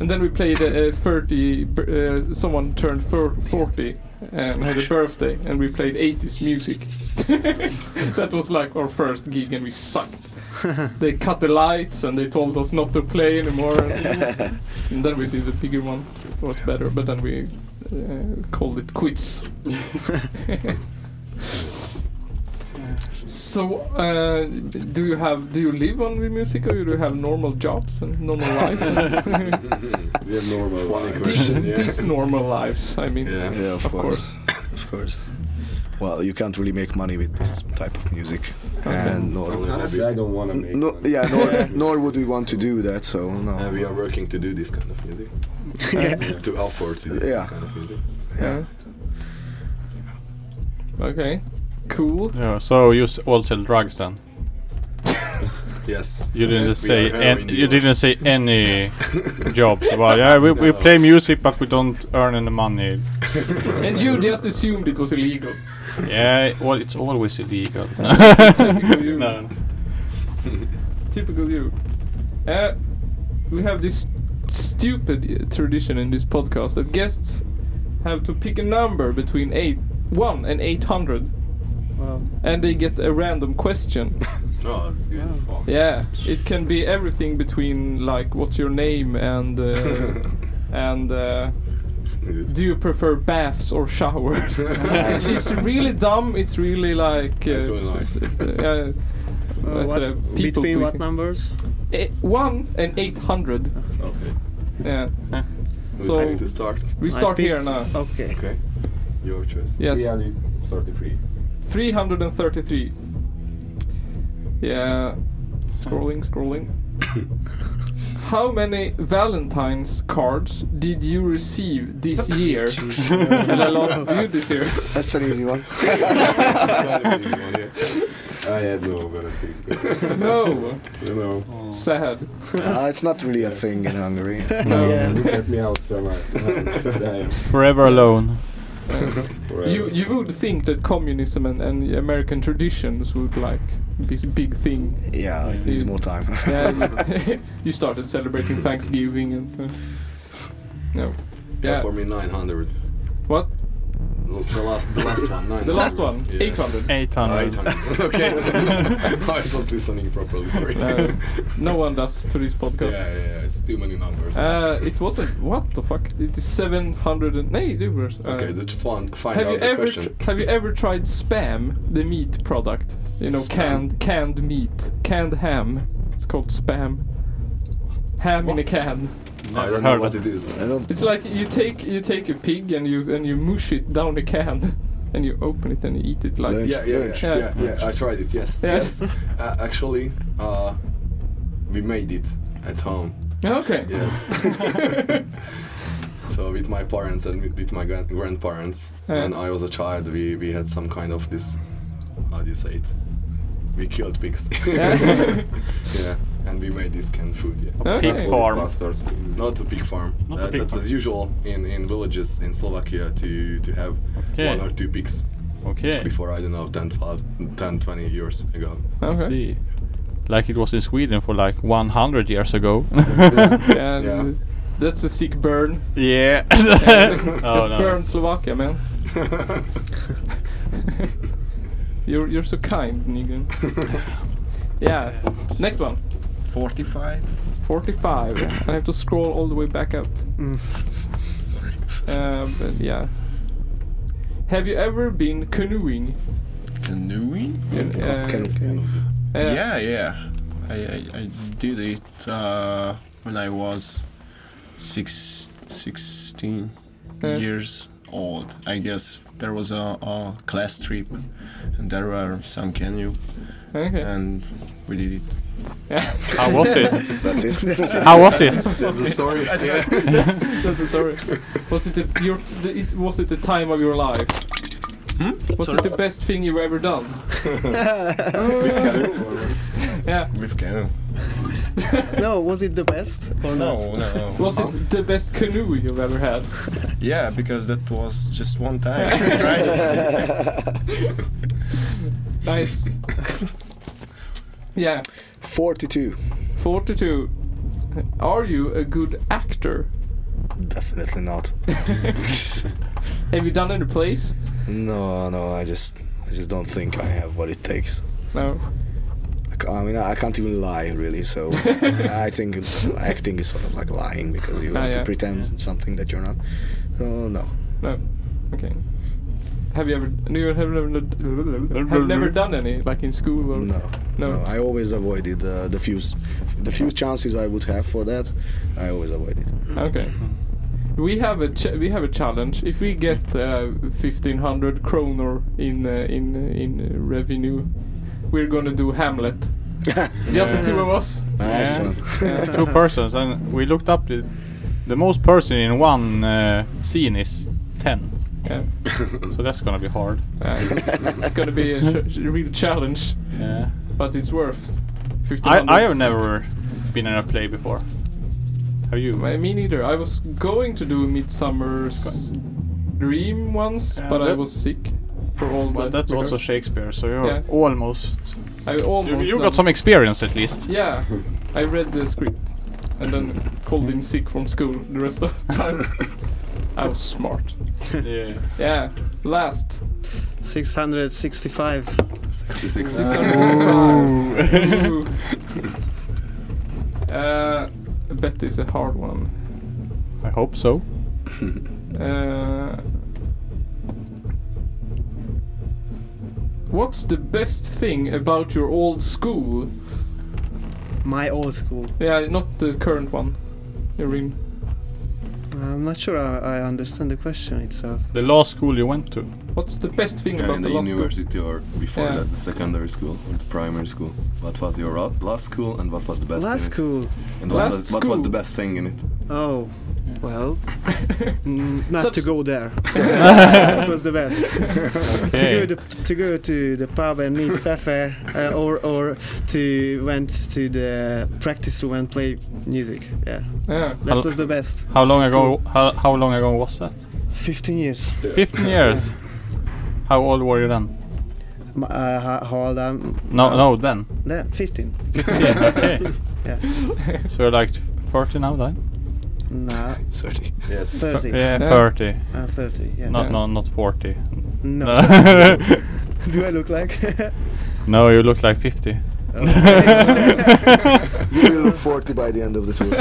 and then we played uh, uh, 30, b- uh, someone turned fir- 40 and had a birthday, and we played 80s music. (laughs) that was like our first gig, and we sucked. they cut the lights and they told us not to play anymore. And, and then we did a bigger one, it was better, but then we uh, called it quits. So, uh, do you have do you live on with music or do you have normal jobs and normal lives? (laughs) we have normal Funny lives. these, question, yeah. these normal lives, I mean. Yeah, yeah of, of course. of course. Well, you can't really make money with this type of music, and nor, honestly I don't want to make no, money. yeah, nor, (laughs) nor would we want to do that. So no. And we are working to do this kind of music. (laughs) Yeah. To afford to do this Yeah. kind of music. Yeah. Okay. Cool. Yeah, so you s- all sell drugs then? Yes. You didn't Yes, we say are heroin an- you dealers. didn't say (laughs) any jobs. Well, yeah, we, we No. play music, but we don't earn any (laughs) money. (laughs) And you just assumed it was illegal. yeah, well, it's always illegal. (laughs) Typical you. no. Typical you. Uh, we have this s- stupid tradition in this podcast that guests have to pick a number between eight, one and 800. (laughs) Wow. And they get a random question. Oh, that's good. Yeah, it can be everything between like what's your name and uh, (laughs) and uh, do you prefer baths (laughs) or showers? (laughs) it's really dumb. It's really like uh, That's really nice. it's, uh, Uh, what- between what numbers? Eh, one and eight hundred. Okay. Yeah. Who's having to start? We I start pick- here now. Okay. Okay. Your choice. Yes. 333. 333. Yeah. Scrolling, scrolling. How many Valentine's cards did you (laughs) receive (laughs) this year? (laughs) and I lost you this year. That's an easy one. I had no Valentine's Day. (laughs) No. No. Sad. Uh, it's not really a thing in Hungary. (laughs) uh, (laughs) No. Yes. Look at me how strong (laughs) I am. Forever alone. (laughs) You you would think that communism and, and American traditions would like this big thing. Yeah, it needs You- more time. (laughs) yeah, you (laughs) started celebrating Thanksgiving and uh, no. Yeah, Yeah. for me 900. What? No, the last, the last one. 900. The last one, Yeah. 800. 800. Ah, (laughs) 800. (laughs) okay. I was not listening properly. Sorry. No, no one does to this podcast. Yeah, yeah, yeah, it's too many numbers. Uh, it wasn't. What the fuck? It is 700 and. No, they were. Uh, okay, let's fun, find have out you the ever question. tr- have you ever tried spam, the meat product? You know, Spam? canned canned meat, canned ham. It's called spam. Ham in a can. I don't know what it is. I It's like you take you take a pig and you and you mush it down a can, (laughs) and you open it and you eat it like. yeah, yeah, yeah, yeah, yeah, I tried it. Yes, Yes. yes. Uh, actually, uh, we made it at home. (laughs) Okay. Yes. (laughs) (laughs) so with my parents and with- with my grand- grandparents, Yeah. when I was a child, we we had some kind of this. How do you say it? We killed pigs. Yeah. (laughs) (laughs) yeah, and we made this canned food. Yeah. A pig Okay. farm. Bastards. Not a pig farm. Not a that pig that was farm. usual in, in villages in Slovakia to to have Okay. one or two pigs. Okay. Before I don't know 10, 12, 10 20 years ago. Okay. See. Like it was in Sweden for like 100 years (laughs) ago. And that's a sick burn. (laughs) Yeah. (laughs) Just Oh, no. burn Slovakia, (laughs) man. you're you're so kind, Negan. yeah. Next one. 45. 45. I have to scroll all the way back up. Sorry. Uh, but yeah. Have you ever been canoeing? Canoeing? Can- uh, Can- Uh, yeah, yeah. I, I, I did it uh, when I was six, 16 Yeah. years old. I guess there was a, a class trip and there were some canoe. Okay. And we did it. Yeah. (laughs) How was (laughs) it? That's it. (laughs) How was it? There's a story. That's the story. Was it the, your, the is, was it the time of your life? Hmm? Was it the best thing you ever done? (laughs) yeah. With (laughs) canoe. no, was it the best or No, not? no, no. Was it the best canoe you've ever had? Yeah, because that was just one (laughs) time. I tried it. (laughs) Nice. yeah. 42. 42. Are you a good actor? Definitely not. (laughs) Have you done any plays? No, no, I just, I just don't think I have what it takes. No. I ca- I mean, I can't even lie, really. (laughs) So I think acting is sort of like lying because you Ah, have yeah. to pretend something that you're not. So no. No. Okay. Have you ever? No, you have never. Have never done any, like in school or. No. No. No, I always avoided uh, the few, s- the few chances I would have for that. I always avoided. Okay. We have a ch- we have a challenge. If we get uh, fifteen hundred kronor in uh, in in uh, revenue, we're gonna (laughs) do Hamlet. Just the two of us. Nice Yeah. one. Yeah. Two persons, and we looked up the, the most person in one uh, scene is 10. Yeah. so that's gonna be hard. Uh, it's gonna be a sh- sh- real challenge, Yeah. but it's worth. I, 1500. I have never been in a play before. Have you? I, me neither. I was going to do Midsummer's Dream once, Yeah, but I that- was sick for all But that. that's also Shakespeare, so you're Yeah. almost. I almost You, you done. got some experience at least. Yeah, I read the script, and then called in sick from school the rest of the time. (laughs) I was smart. Yeah. Yeah. Last. 665. 66. Ooh. (laughs) uh, I bet it's a hard one. I hope so. (laughs) Uh, what's the best thing about your old school? My old school. Yeah, not the current one you're in. I'm not sure I, I understand the question itself. The last school you went to. What's the best thing Yeah, about in the the last school? university or before Yeah. that, the secondary school or the primary school. What was your ro- last school and what was the best Last in it? school. And what, Last was, what was school. the best thing in it? Oh, well, mm, not to Subs- go there. that was the best. Okay. to, go to, to go to the pub and meet Fefe, uh, or or to went to the practice room and play music. Yeah, Yeah. that was the best. How long ago? How, how long ago was that? Fifteen years. Fifteen years. How old were you then? M- Uh, ho- how old I'm? No, now? no, then. Yeah, uh, fifteen. (laughs) Yeah, okay. Yeah. So you're like forty now, then? No. Thirty. Yes. Thirty. Yeah, Yeah. thirty. Ah, 30, yeah. Not, Yeah. no, not forty. (laughs) No. (laughs) Do I look like? (laughs) no, you look like fifty. Oh, thanks. (laughs) you will look 40 by the end of the (laughs) tour.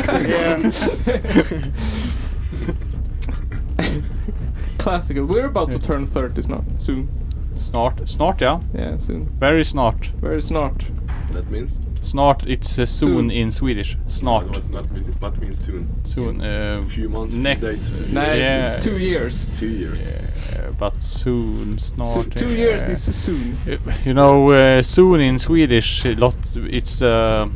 (laughs) (laughs) Classical. We're about to turn 30s now. Soon. Snart. Snart, yeah. Yeah, soon. Very snart. Very snart. That means? Snart. It's uh, soon, Soon. in Swedish. Snart. What, what, mean- what means soon? Soon. Uh, few months, few next. days, few yeah. years. Two years. Two years. Yeah, (laughs) but soon, snart. two years yeah. is (laughs) soon. You know, uh, soon in Swedish, a lot it's uh,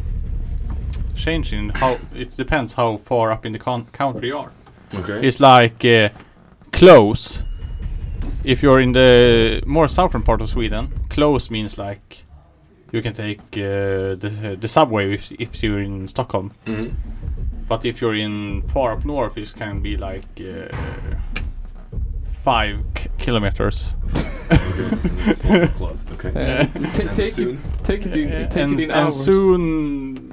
changing. How it depends how far up in the con- country you are. Okay. It's like uh, close. If you're in the more southern part of Sweden, close means like you can take uh, the the subway if if you're in Stockholm. Mhm. But if you're in far up north, it can be like uh, five k- kilometers. It's also close. Okay. Yeah. Ta- take it, take it in, take and, it and in hours. soon,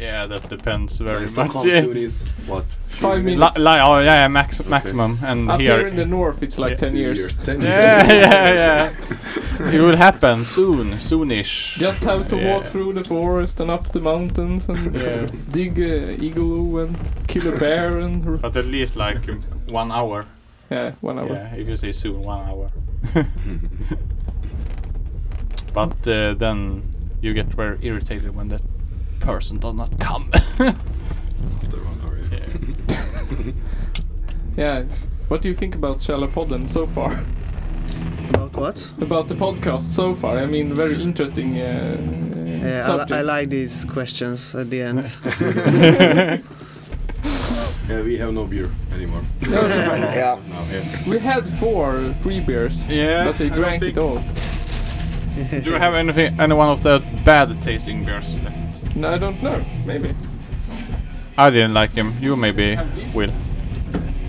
yeah, that depends So very in Stockholm much. (laughs) Yeah. soon is what? Five Li- minutes. li- oh, yeah, yeah, max- maximum, and Up here- in the north, it's like Yeah. 10 Two years. years, 10 (laughs) Yeah, years. (laughs) yeah, (laughs) yeah. It will happen soon, soonish. Just have to walk Yeah. through the forest and up the mountains and Yeah. (laughs) dig a igloo and kill a bear (laughs) and. r- But at least like um, one hour. Yeah, one hour. Yeah, if you say soon, one (laughs) hour. but uh, then you get very irritated when that person does not come. Yeah. (laughs) Yeah. What do you think about Källarpodden so far? About what? About the podcast so far. I mean, very interesting uh, Yeah, I, li- subjects. I like these questions at the end. Yeah, we have no beer (laughs) anymore. Yeah. (laughs) No, yeah. We (laughs) had four free beers. Yeah, But they I don't drank it all. Do you have anything, any one of the bad tasting beers left? No, I don't know. Maybe. I didn't like him. You maybe will.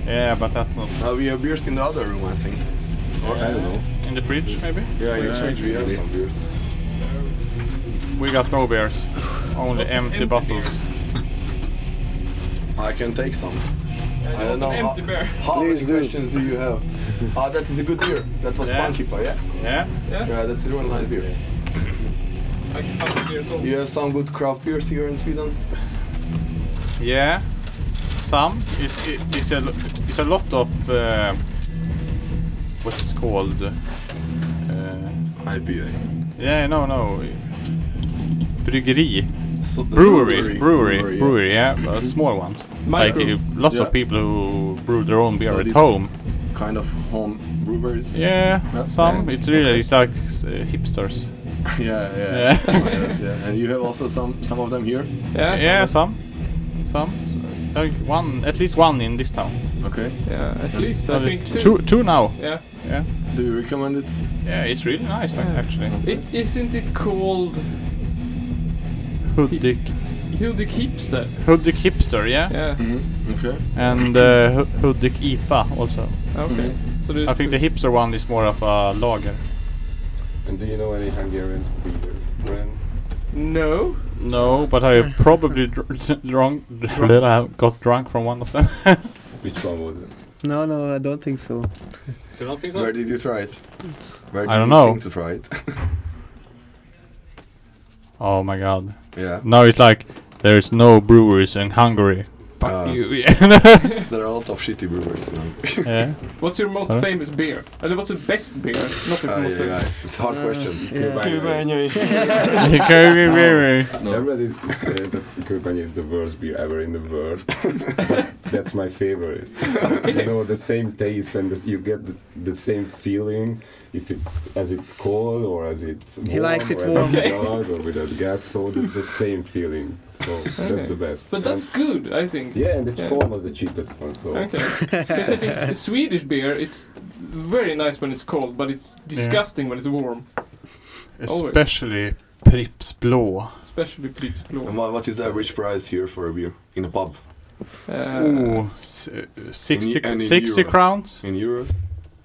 Yeah, but that's not. Uh, we have beers in the other room, I think. Or I don't know. In the fridge, maybe? Yeah, in the fridge we have maybe. some beers. We got no beers, only empty bottles. I can take some. I don't know. Empty how, beer. how many questions do you have? Ah, that is a good beer. That was Yeah. Punky Pie, yeah? Yeah. Yeah, that's a really nice beer. You have some good craft beers here in Sweden? Yeah, some. It's, it, it's, a, lo- it's a lot of. Uh, what's it called? Uh, IPA. Yeah, no, no. Bryggeri. So- brewery, brewery, brewery, brewery, yeah. yeah, but small ones. My like brew. uh, lots Yeah. of people who brew their own beer So at this home. Kind of home breweries? Yeah, some. yeah. It's really it's like uh, hipsters. (laughs) Yeah, yeah. Yeah. yeah. (laughs) yeah. And you have also some some of them here? Yeah, yeah, some, some, like one, at least one in this town. Okay. Yeah, at Yeah. least I Uh, think two. two- two now. Yeah. Yeah. Do you recommend it? Yeah, it's really nice, man, actually. It isn't it called Hudik, Hudik Hipster? Hudik hipster, yeah. Yeah. Okay. And uh, Hu- Hudik IPA also. Okay. So there's I think the hipster one is more of a lager. And do you know any Hungarian beer brand? No. No, but I probably dr- (laughs) drunk, (laughs) got drunk from one of them. (laughs) Which one was it? No, no, I don't (laughs) think so. Where did you try it? Where did I don't you know. think to try it? Oh my god. Yeah. Now it's like there's no breweries in Hungary. Fuck Uh, you. (laughs) there are a lot of shitty brewers now. yeah. (laughs) What's your most famous beer? Eller what's your best beer? Not your most famous. Uh, It's a hard question. No. Everybody said that Kubanya is the worst beer ever in the world. (laughs) But That's my favorite. You know, the same taste and the, you get the, the same feeling if it's as it's cold or as it's warm. He likes it or as warm. it's Okay. dark or without gas, so it's the same feeling. So that's the best. But that's good, I think. Yeah, and the Chikon was the cheapest one, so. (laughs) Okay. Because if it's a Swedish beer, it's very nice when it's cold, but it's disgusting when it's warm. Always. Especially Pripps Blå. Especially Pripps Blå. And what, what is the average price here for a beer in a pub? Uh, Ooh, s- uh, 60, any 60 euros? crowns? In euros?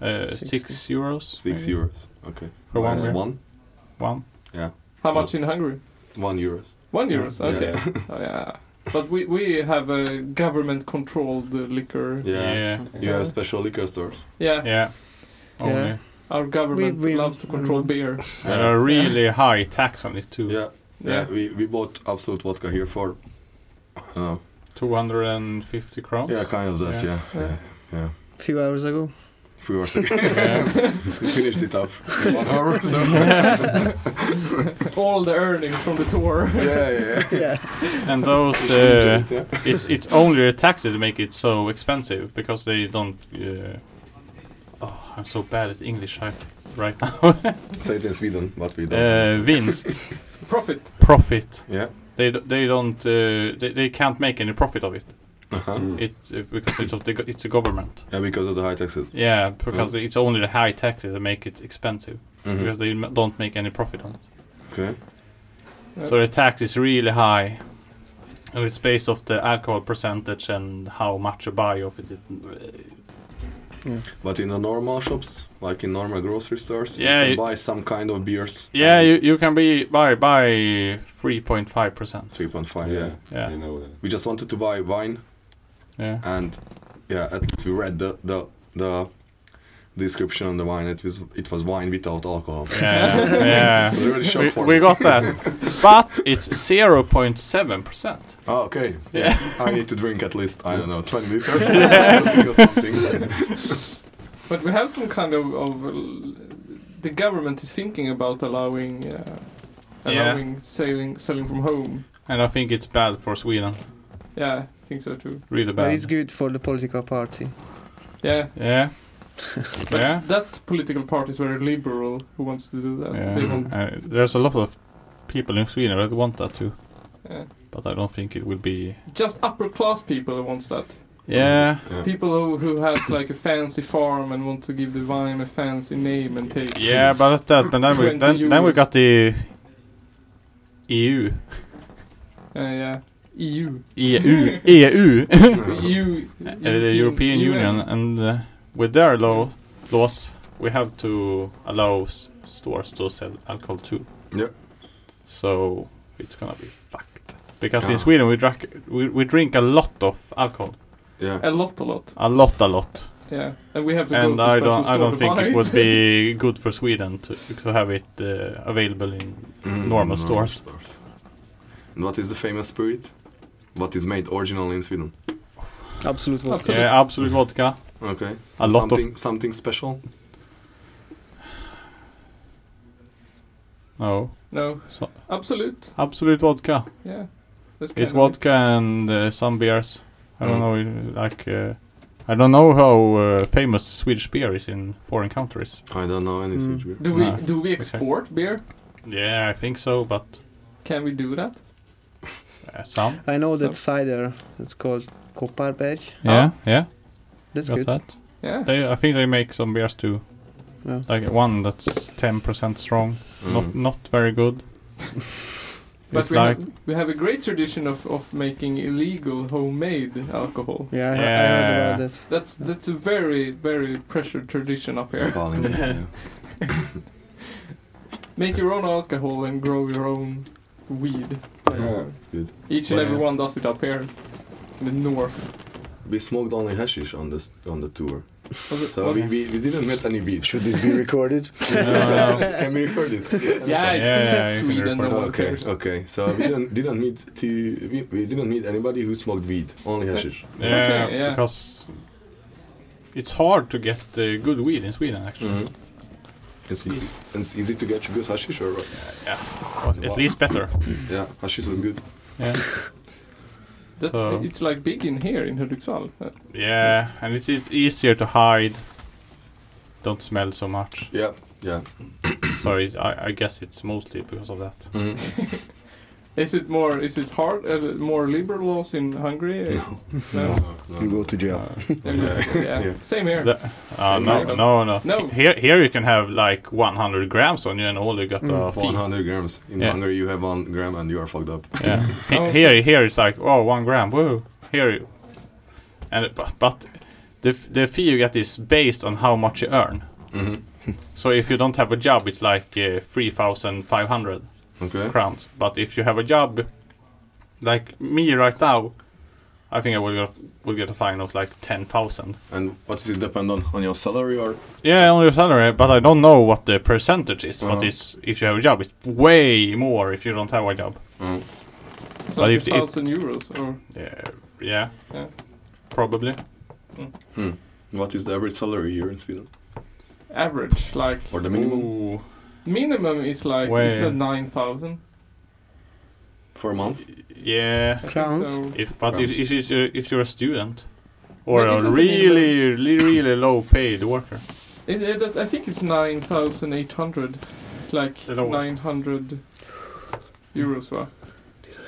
Uh, 6 euros. Six maybe. euros. Okay. For one Minus beer. one. One. Yeah. How much in Hungary? One euros. One euros. Yeah. Okay. (laughs) Oh, yeah. But we, we have a government-controlled uh, liquor. (laughs) Yeah. Yeah. You have special liquor stores. Yeah. Yeah. Only. Our government loves to (laughs) control beer. There are really high tax on it too. Yeah. Yeah. We, we bought absolute vodka here for. Uh, (laughs) 250 crowns? yeah, kind of that. Yeah. Yeah. yeah. A few hours ago. If we were (laughs) sick. (laughs) we finished it up in one hour. So. (laughs) All the earnings from the tour. (laughs) yeah, yeah. (laughs) And those, We should uh, do it, yeah. it's (laughs) it's only the taxes that make it so expensive because they don't. Uh, oh, I'm so bad at English I, right (laughs) now. (laughs) Say it in Sweden, but we don't. uh, understand. vinst. Profit. Profit. Yeah. They d- they don't uh, they, they can't make any profit of it. Uh-huh. It uh, because it's of the go- it's a government. Yeah, because of the high taxes. Yeah, Mm. because it's only the high taxes that make it expensive Mhm. because they m- don't make any profit on it. Oh, Okay. So the tax is really high. And it's based off the alcohol percentage and how much you buy of it. But in the normal shops, like in normal grocery stores, Yeah, you can you- buy some kind of beers. Yeah, you, you can be buy buy 3.5%. 3.5, yeah. Yeah. You know that. We just wanted to buy wine. Yeah. And yeah, at least we read the the, the description on the wine. It was it was wine without alcohol. (laughs) Yeah, yeah. (laughs) so we really shocked we, for we me. (laughs) got that. but it's 0.7%. Oh, okay. Yeah. Yeah. I need to drink at least I don't know 20 liters (laughs) (laughs) Yeah. or something. But we have some kind of, of l- the government is thinking about allowing uh, Yeah. allowing selling selling from home. And I think it's bad for Sweden. Yeah, I think so too. Really But bad. it's good for the political party. Yeah. (laughs) Yeah. But yeah. That political party is very liberal. Who wants to do that? They yeah. want. Uh, there's a lot of people in Sweden that want that too. Yeah. But I don't think it will be. Just upper class people who wants that. Yeah. People who, who have like a fancy farm and want to give the vine a fancy name and take. Yeah, but that's that. But then we 20 then, then we euros. got the E EU. Uh, yeah. E EU. (laughs) (laughs) EU. EU. (laughs) EU. Uh, E the European E Union, and uh, with their law laws, we have to allow s- stores to sell alcohol too. Yeah. So it's gonna be fucked because in Ah. Sweden we drink we, we drink a lot of alcohol, Yeah. A lot, a lot. a lot, a lot. Yeah, and we have to and go to I special don't I store don't to think buy it would be good for Sweden to to have it uh, available in Mm, normal normal stores. And what is the famous spirit? What is made originally in Sweden? Absolute vodka. Yeah, absolute vodka. Okay. A lot of something, something special. no No. So- Absolute. absolute vodka. (laughs) Yeah. That's kind It's of vodka and uh, some beers. I Mm. don't know, uh, like, uh, I don't know how uh, famous Swedish beer is in foreign countries. I don't know any Swedish beer. it. Mm. Do we No. do we Mm. Okay. export beer? Yeah, I think so, but Can we do that? uh, some. I know that cider. It's called Kopparberg. Yeah, yeah. That's Got good. that. Yeah. They, I think they make some beers too. Yeah. Like one that's ten percent strong. Not Mm. not very good. But It's we, like have, we have a great tradition of, of making illegal homemade alcohol. Yeah, I, I heard about Yeah. that. That's that's a very very pressured tradition up here. Falling, (laughs) yeah. Make your own alcohol and grow your own weed. Oh, Yeah, good. uh, Each and every one does it up here in the north. We smoked only hashish on this on the tour. Was it- So we, we, we didn't met any weed. Should this be (laughs) recorded? (laughs) Can we record it? Yeah, it's Yeah, yeah, you can Sweden, no record one it. okay, cares. okay. So we didn't didn't meet to we, we didn't meet anybody who smoked weed. Only hashish. Yeah, because it's hard to get uh, good weed in Sweden actually. Mm-hmm. It's, it's easy to get good hashish or what? Yeah, at least better. yeah, hashish is good. Yeah. That's So- it's like big in here in Hudiksvall. Uh, Yeah, and it's, it's easier to hide. Don't smell so much. Yeah, yeah. Sorry, I, I guess it's mostly because of that. Is it more? Is it hard? Uh, more liberal laws in Hungary? (laughs) No. You go to (laughs) jail. (laughs) yeah. Same here. The- uh, Same no, here. no, no, No. Here, here you can have like 100 grams on you, and all you got are feet. 100 grams. In Yeah. Hungary, you have one gram and you are fucked up. (laughs) Yeah. He- Here, here it's like oh one gram. Woo. Here, you- and it- but, but the f- the fee you get is based on how much you earn. Mm-hmm. (laughs) so if you don't have a job, it's like uh, three thousand five hundred Okay. crowns. But if you have a job, like me right now, I think I will get will get a fine of like ten thousand. And what does it depend on? On your salary or? Yeah, on your salary, but I don't know what the percentage is. Uh-huh. Mm. But it's if you have a job, it's way more if you don't have a job. It's But like if- a if- thousand euros or Yeah, yeah, yeah. probably. Hmm. What is the average salary here in Sweden? average like Or the minimum minimum is like is Way- that nine thousand? for a month? Yeah, think Crowns. so. If, but Crowns. if if you're, if you're a student or But a isn't the really really really low paid worker, It, it, it- I think it's nine thousand eight hundred, like lowest. nine hundred euros. Va?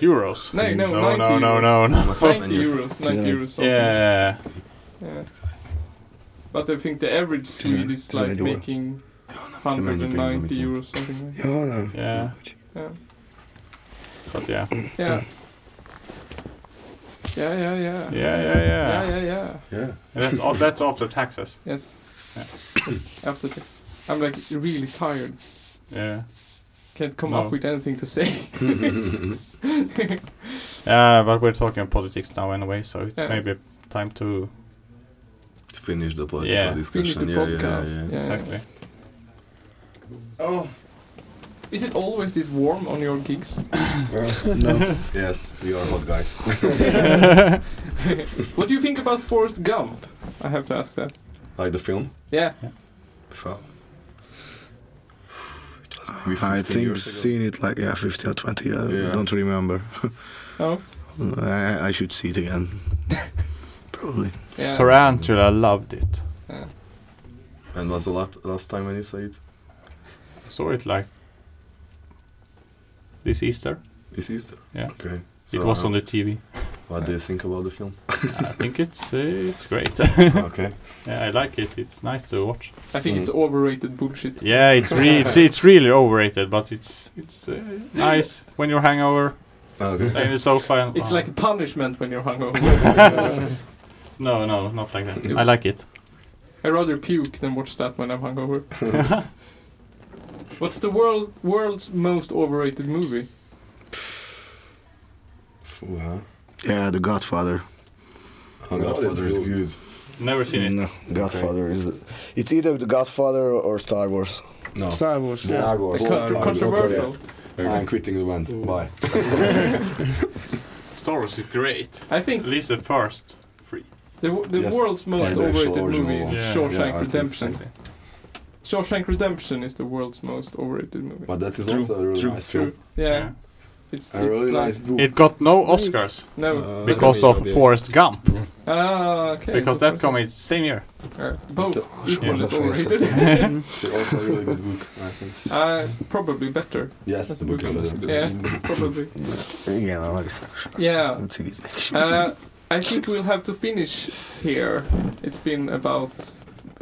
euros. No, no, no, 90 no, no, no, euros. no. 90 euros, 90 euros something. Yeah, Yeah. But I think the average Swede is doesn't like really work. making many things I'm 190 euros something like that. Yeah. yeah, Yeah. but yeah, Yeah. Yeah, yeah, yeah. yeah, yeah, yeah, Yeah, yeah, yeah. Yeah. That's all, that's after taxes. (laughs) Yes. Yeah. After this. I'm like really tired. Yeah. Can't come No. up with anything to say. (laughs) Yeah, Uh, but we're talking politics now anyway, so it's Yeah. maybe time to Finish the political Yeah. discussion. Finish the yeah, yeah, podcast. yeah, Yeah. exactly. oh. Is it always this warm on your (coughs) gigs? No. Yes, we are hot guys. (laughs) what do you think about Forrest Gump? I have to ask that. like the film? Yeah. From? I 15 think years ago. seen it like yeah, 15 or 20. I Yeah. don't remember. Oh. (laughs) I, I should see it again. Probably. Yeah. Tarantula loved it. And was the last, last time when you saw it? Saw it like this Easter. This Easter? Yeah. Okay. it So, was uh, on the TV. What do you think about the (laughs) film? I think it's uh, it's great. (laughs) okay. Mm. yeah, I like it. It's nice to watch. I think it's overrated bullshit. Yeah, it's re- it's, it's really overrated, but it's it's uh, nice when you're hangover. Okay. Lay in the sofa. (laughs) (laughs) And, It's oh. like a punishment when you're hungover. (laughs) no, no, not like that. I like it. I rather puke than watch that when I'm (laughs) hungover. What's the world world's most overrated movie? Phew, huh? Yeah, The Godfather. Oh, Godfather is good. Never seen it. No, Godfather is. It's either The Godfather or Star Wars. No. Star Wars. Star Wars. It's Star contro- Wars. controversial. I'm quitting the band. Bye. Star Wars is great. I think At least the first three. the, w- the Yes. world's most Yeah, the actual overrated original movie is one. Yeah, Shawshank yeah, I think Redemption. so. Shawshank Redemption is the world's most overrated movie. But that is True, also a really true, nice True. film. Yeah. Yeah. It's, A it's really like, nice book. It got no Oscars no. Uh, because no, of yeah. Forrest Gump. ah, okay. Because that came in same year. Uh, both So- equal is Wonderful. (laughs) overrated. (laughs) It's also a really good book, I think. uh, probably better. Yes, the book is good. Yeah, probably. Yeah, I like Star Wars. Yeah. Let's see this next. Uh, I think we'll have to finish here. It's been about.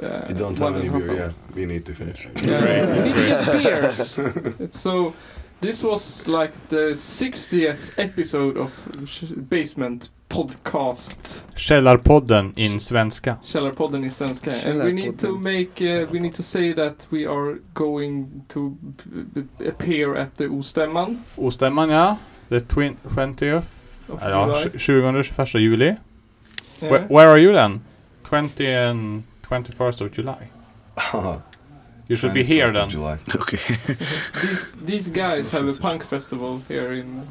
Uh, We don't one have any and a half beer, hour. yeah. We need to finish. (laughs) Yeah. We need to get beers. It's so this was like the 60th episode of Sh- Basement podcast. Källarpodden in svenska. Källarpodden i svenska. And we need to make, uh, we need to say that we are going to b- b- appear at the Ostämman. Ostämman ja. The twin, 20th. Of Ja, July. tj- 20 21 juli. Yeah. Where, where are you then? 20 and 21st of July. (laughs) you should be here 21st then. of July. (laughs) (laughs) Okay. These, these guys have a punk festival here in,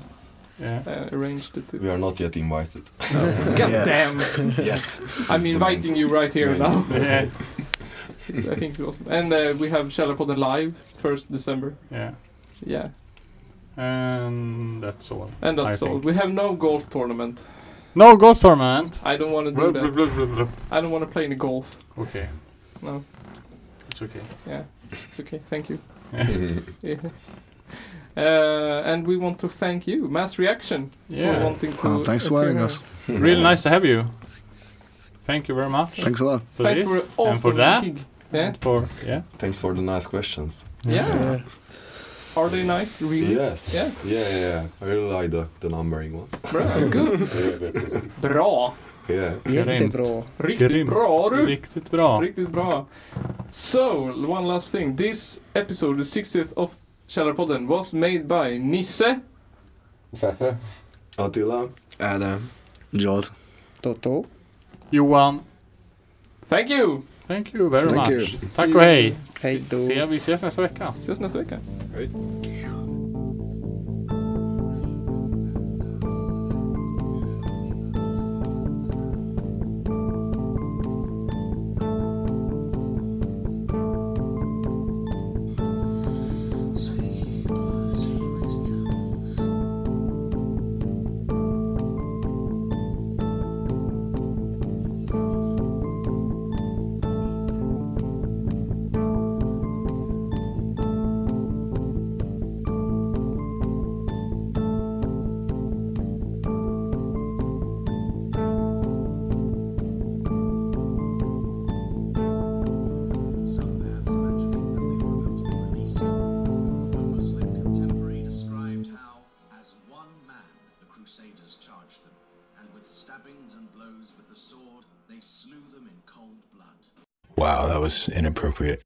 (laughs) uh, arranged it. We are not yet invited. (laughs) God damn. (laughs) yet. I'm inviting you right here main- (laughs) now. Yeah. I think it's awesome. And uh, we have Källarpodden live 1st December. Yeah. Yeah. And that's all. And that's I all. think. We have no golf tournament. No golf tournament. I don't want to do Blub, that. blub, blub, blub, blub. I don't want to play any golf. Okay. No. It's okay. Yeah. It's okay. (laughs) Thank you. (laughs) Yeah. yeah. Uh, and we want to thank you, Mass Reaction, Yeah. for wanting to. Well, thanks for appear having here. us. Really nice to have you. Thank you very much. Thanks a lot. For Thanks this for and for awesome that. gig. Yeah. For yeah. Thanks for the nice questions. Yeah. Are they nice? Really? Yes. Yeah. Yeah, yeah, yeah. I really like the, the numbering ones. Bra. Good. (laughs) Bra. (laughs) yeah. Jättebra. Riktigt Grymt. bra du! Riktigt bra. Riktigt bra. So, one last thing. This episode, the 60th of Källarpodden, was made by Nisse. Feffe. Attila. Adam. Jod. Toto. Johan. Thank you! Thank you very Thank much. you. Tack och hej. Hej då. Se, vi ses nästa vecka. Ses nästa vecka. Crusaders charged them, and with stabbings and blows with the sword, they slew them in cold blood. Wow, that was inappropriate.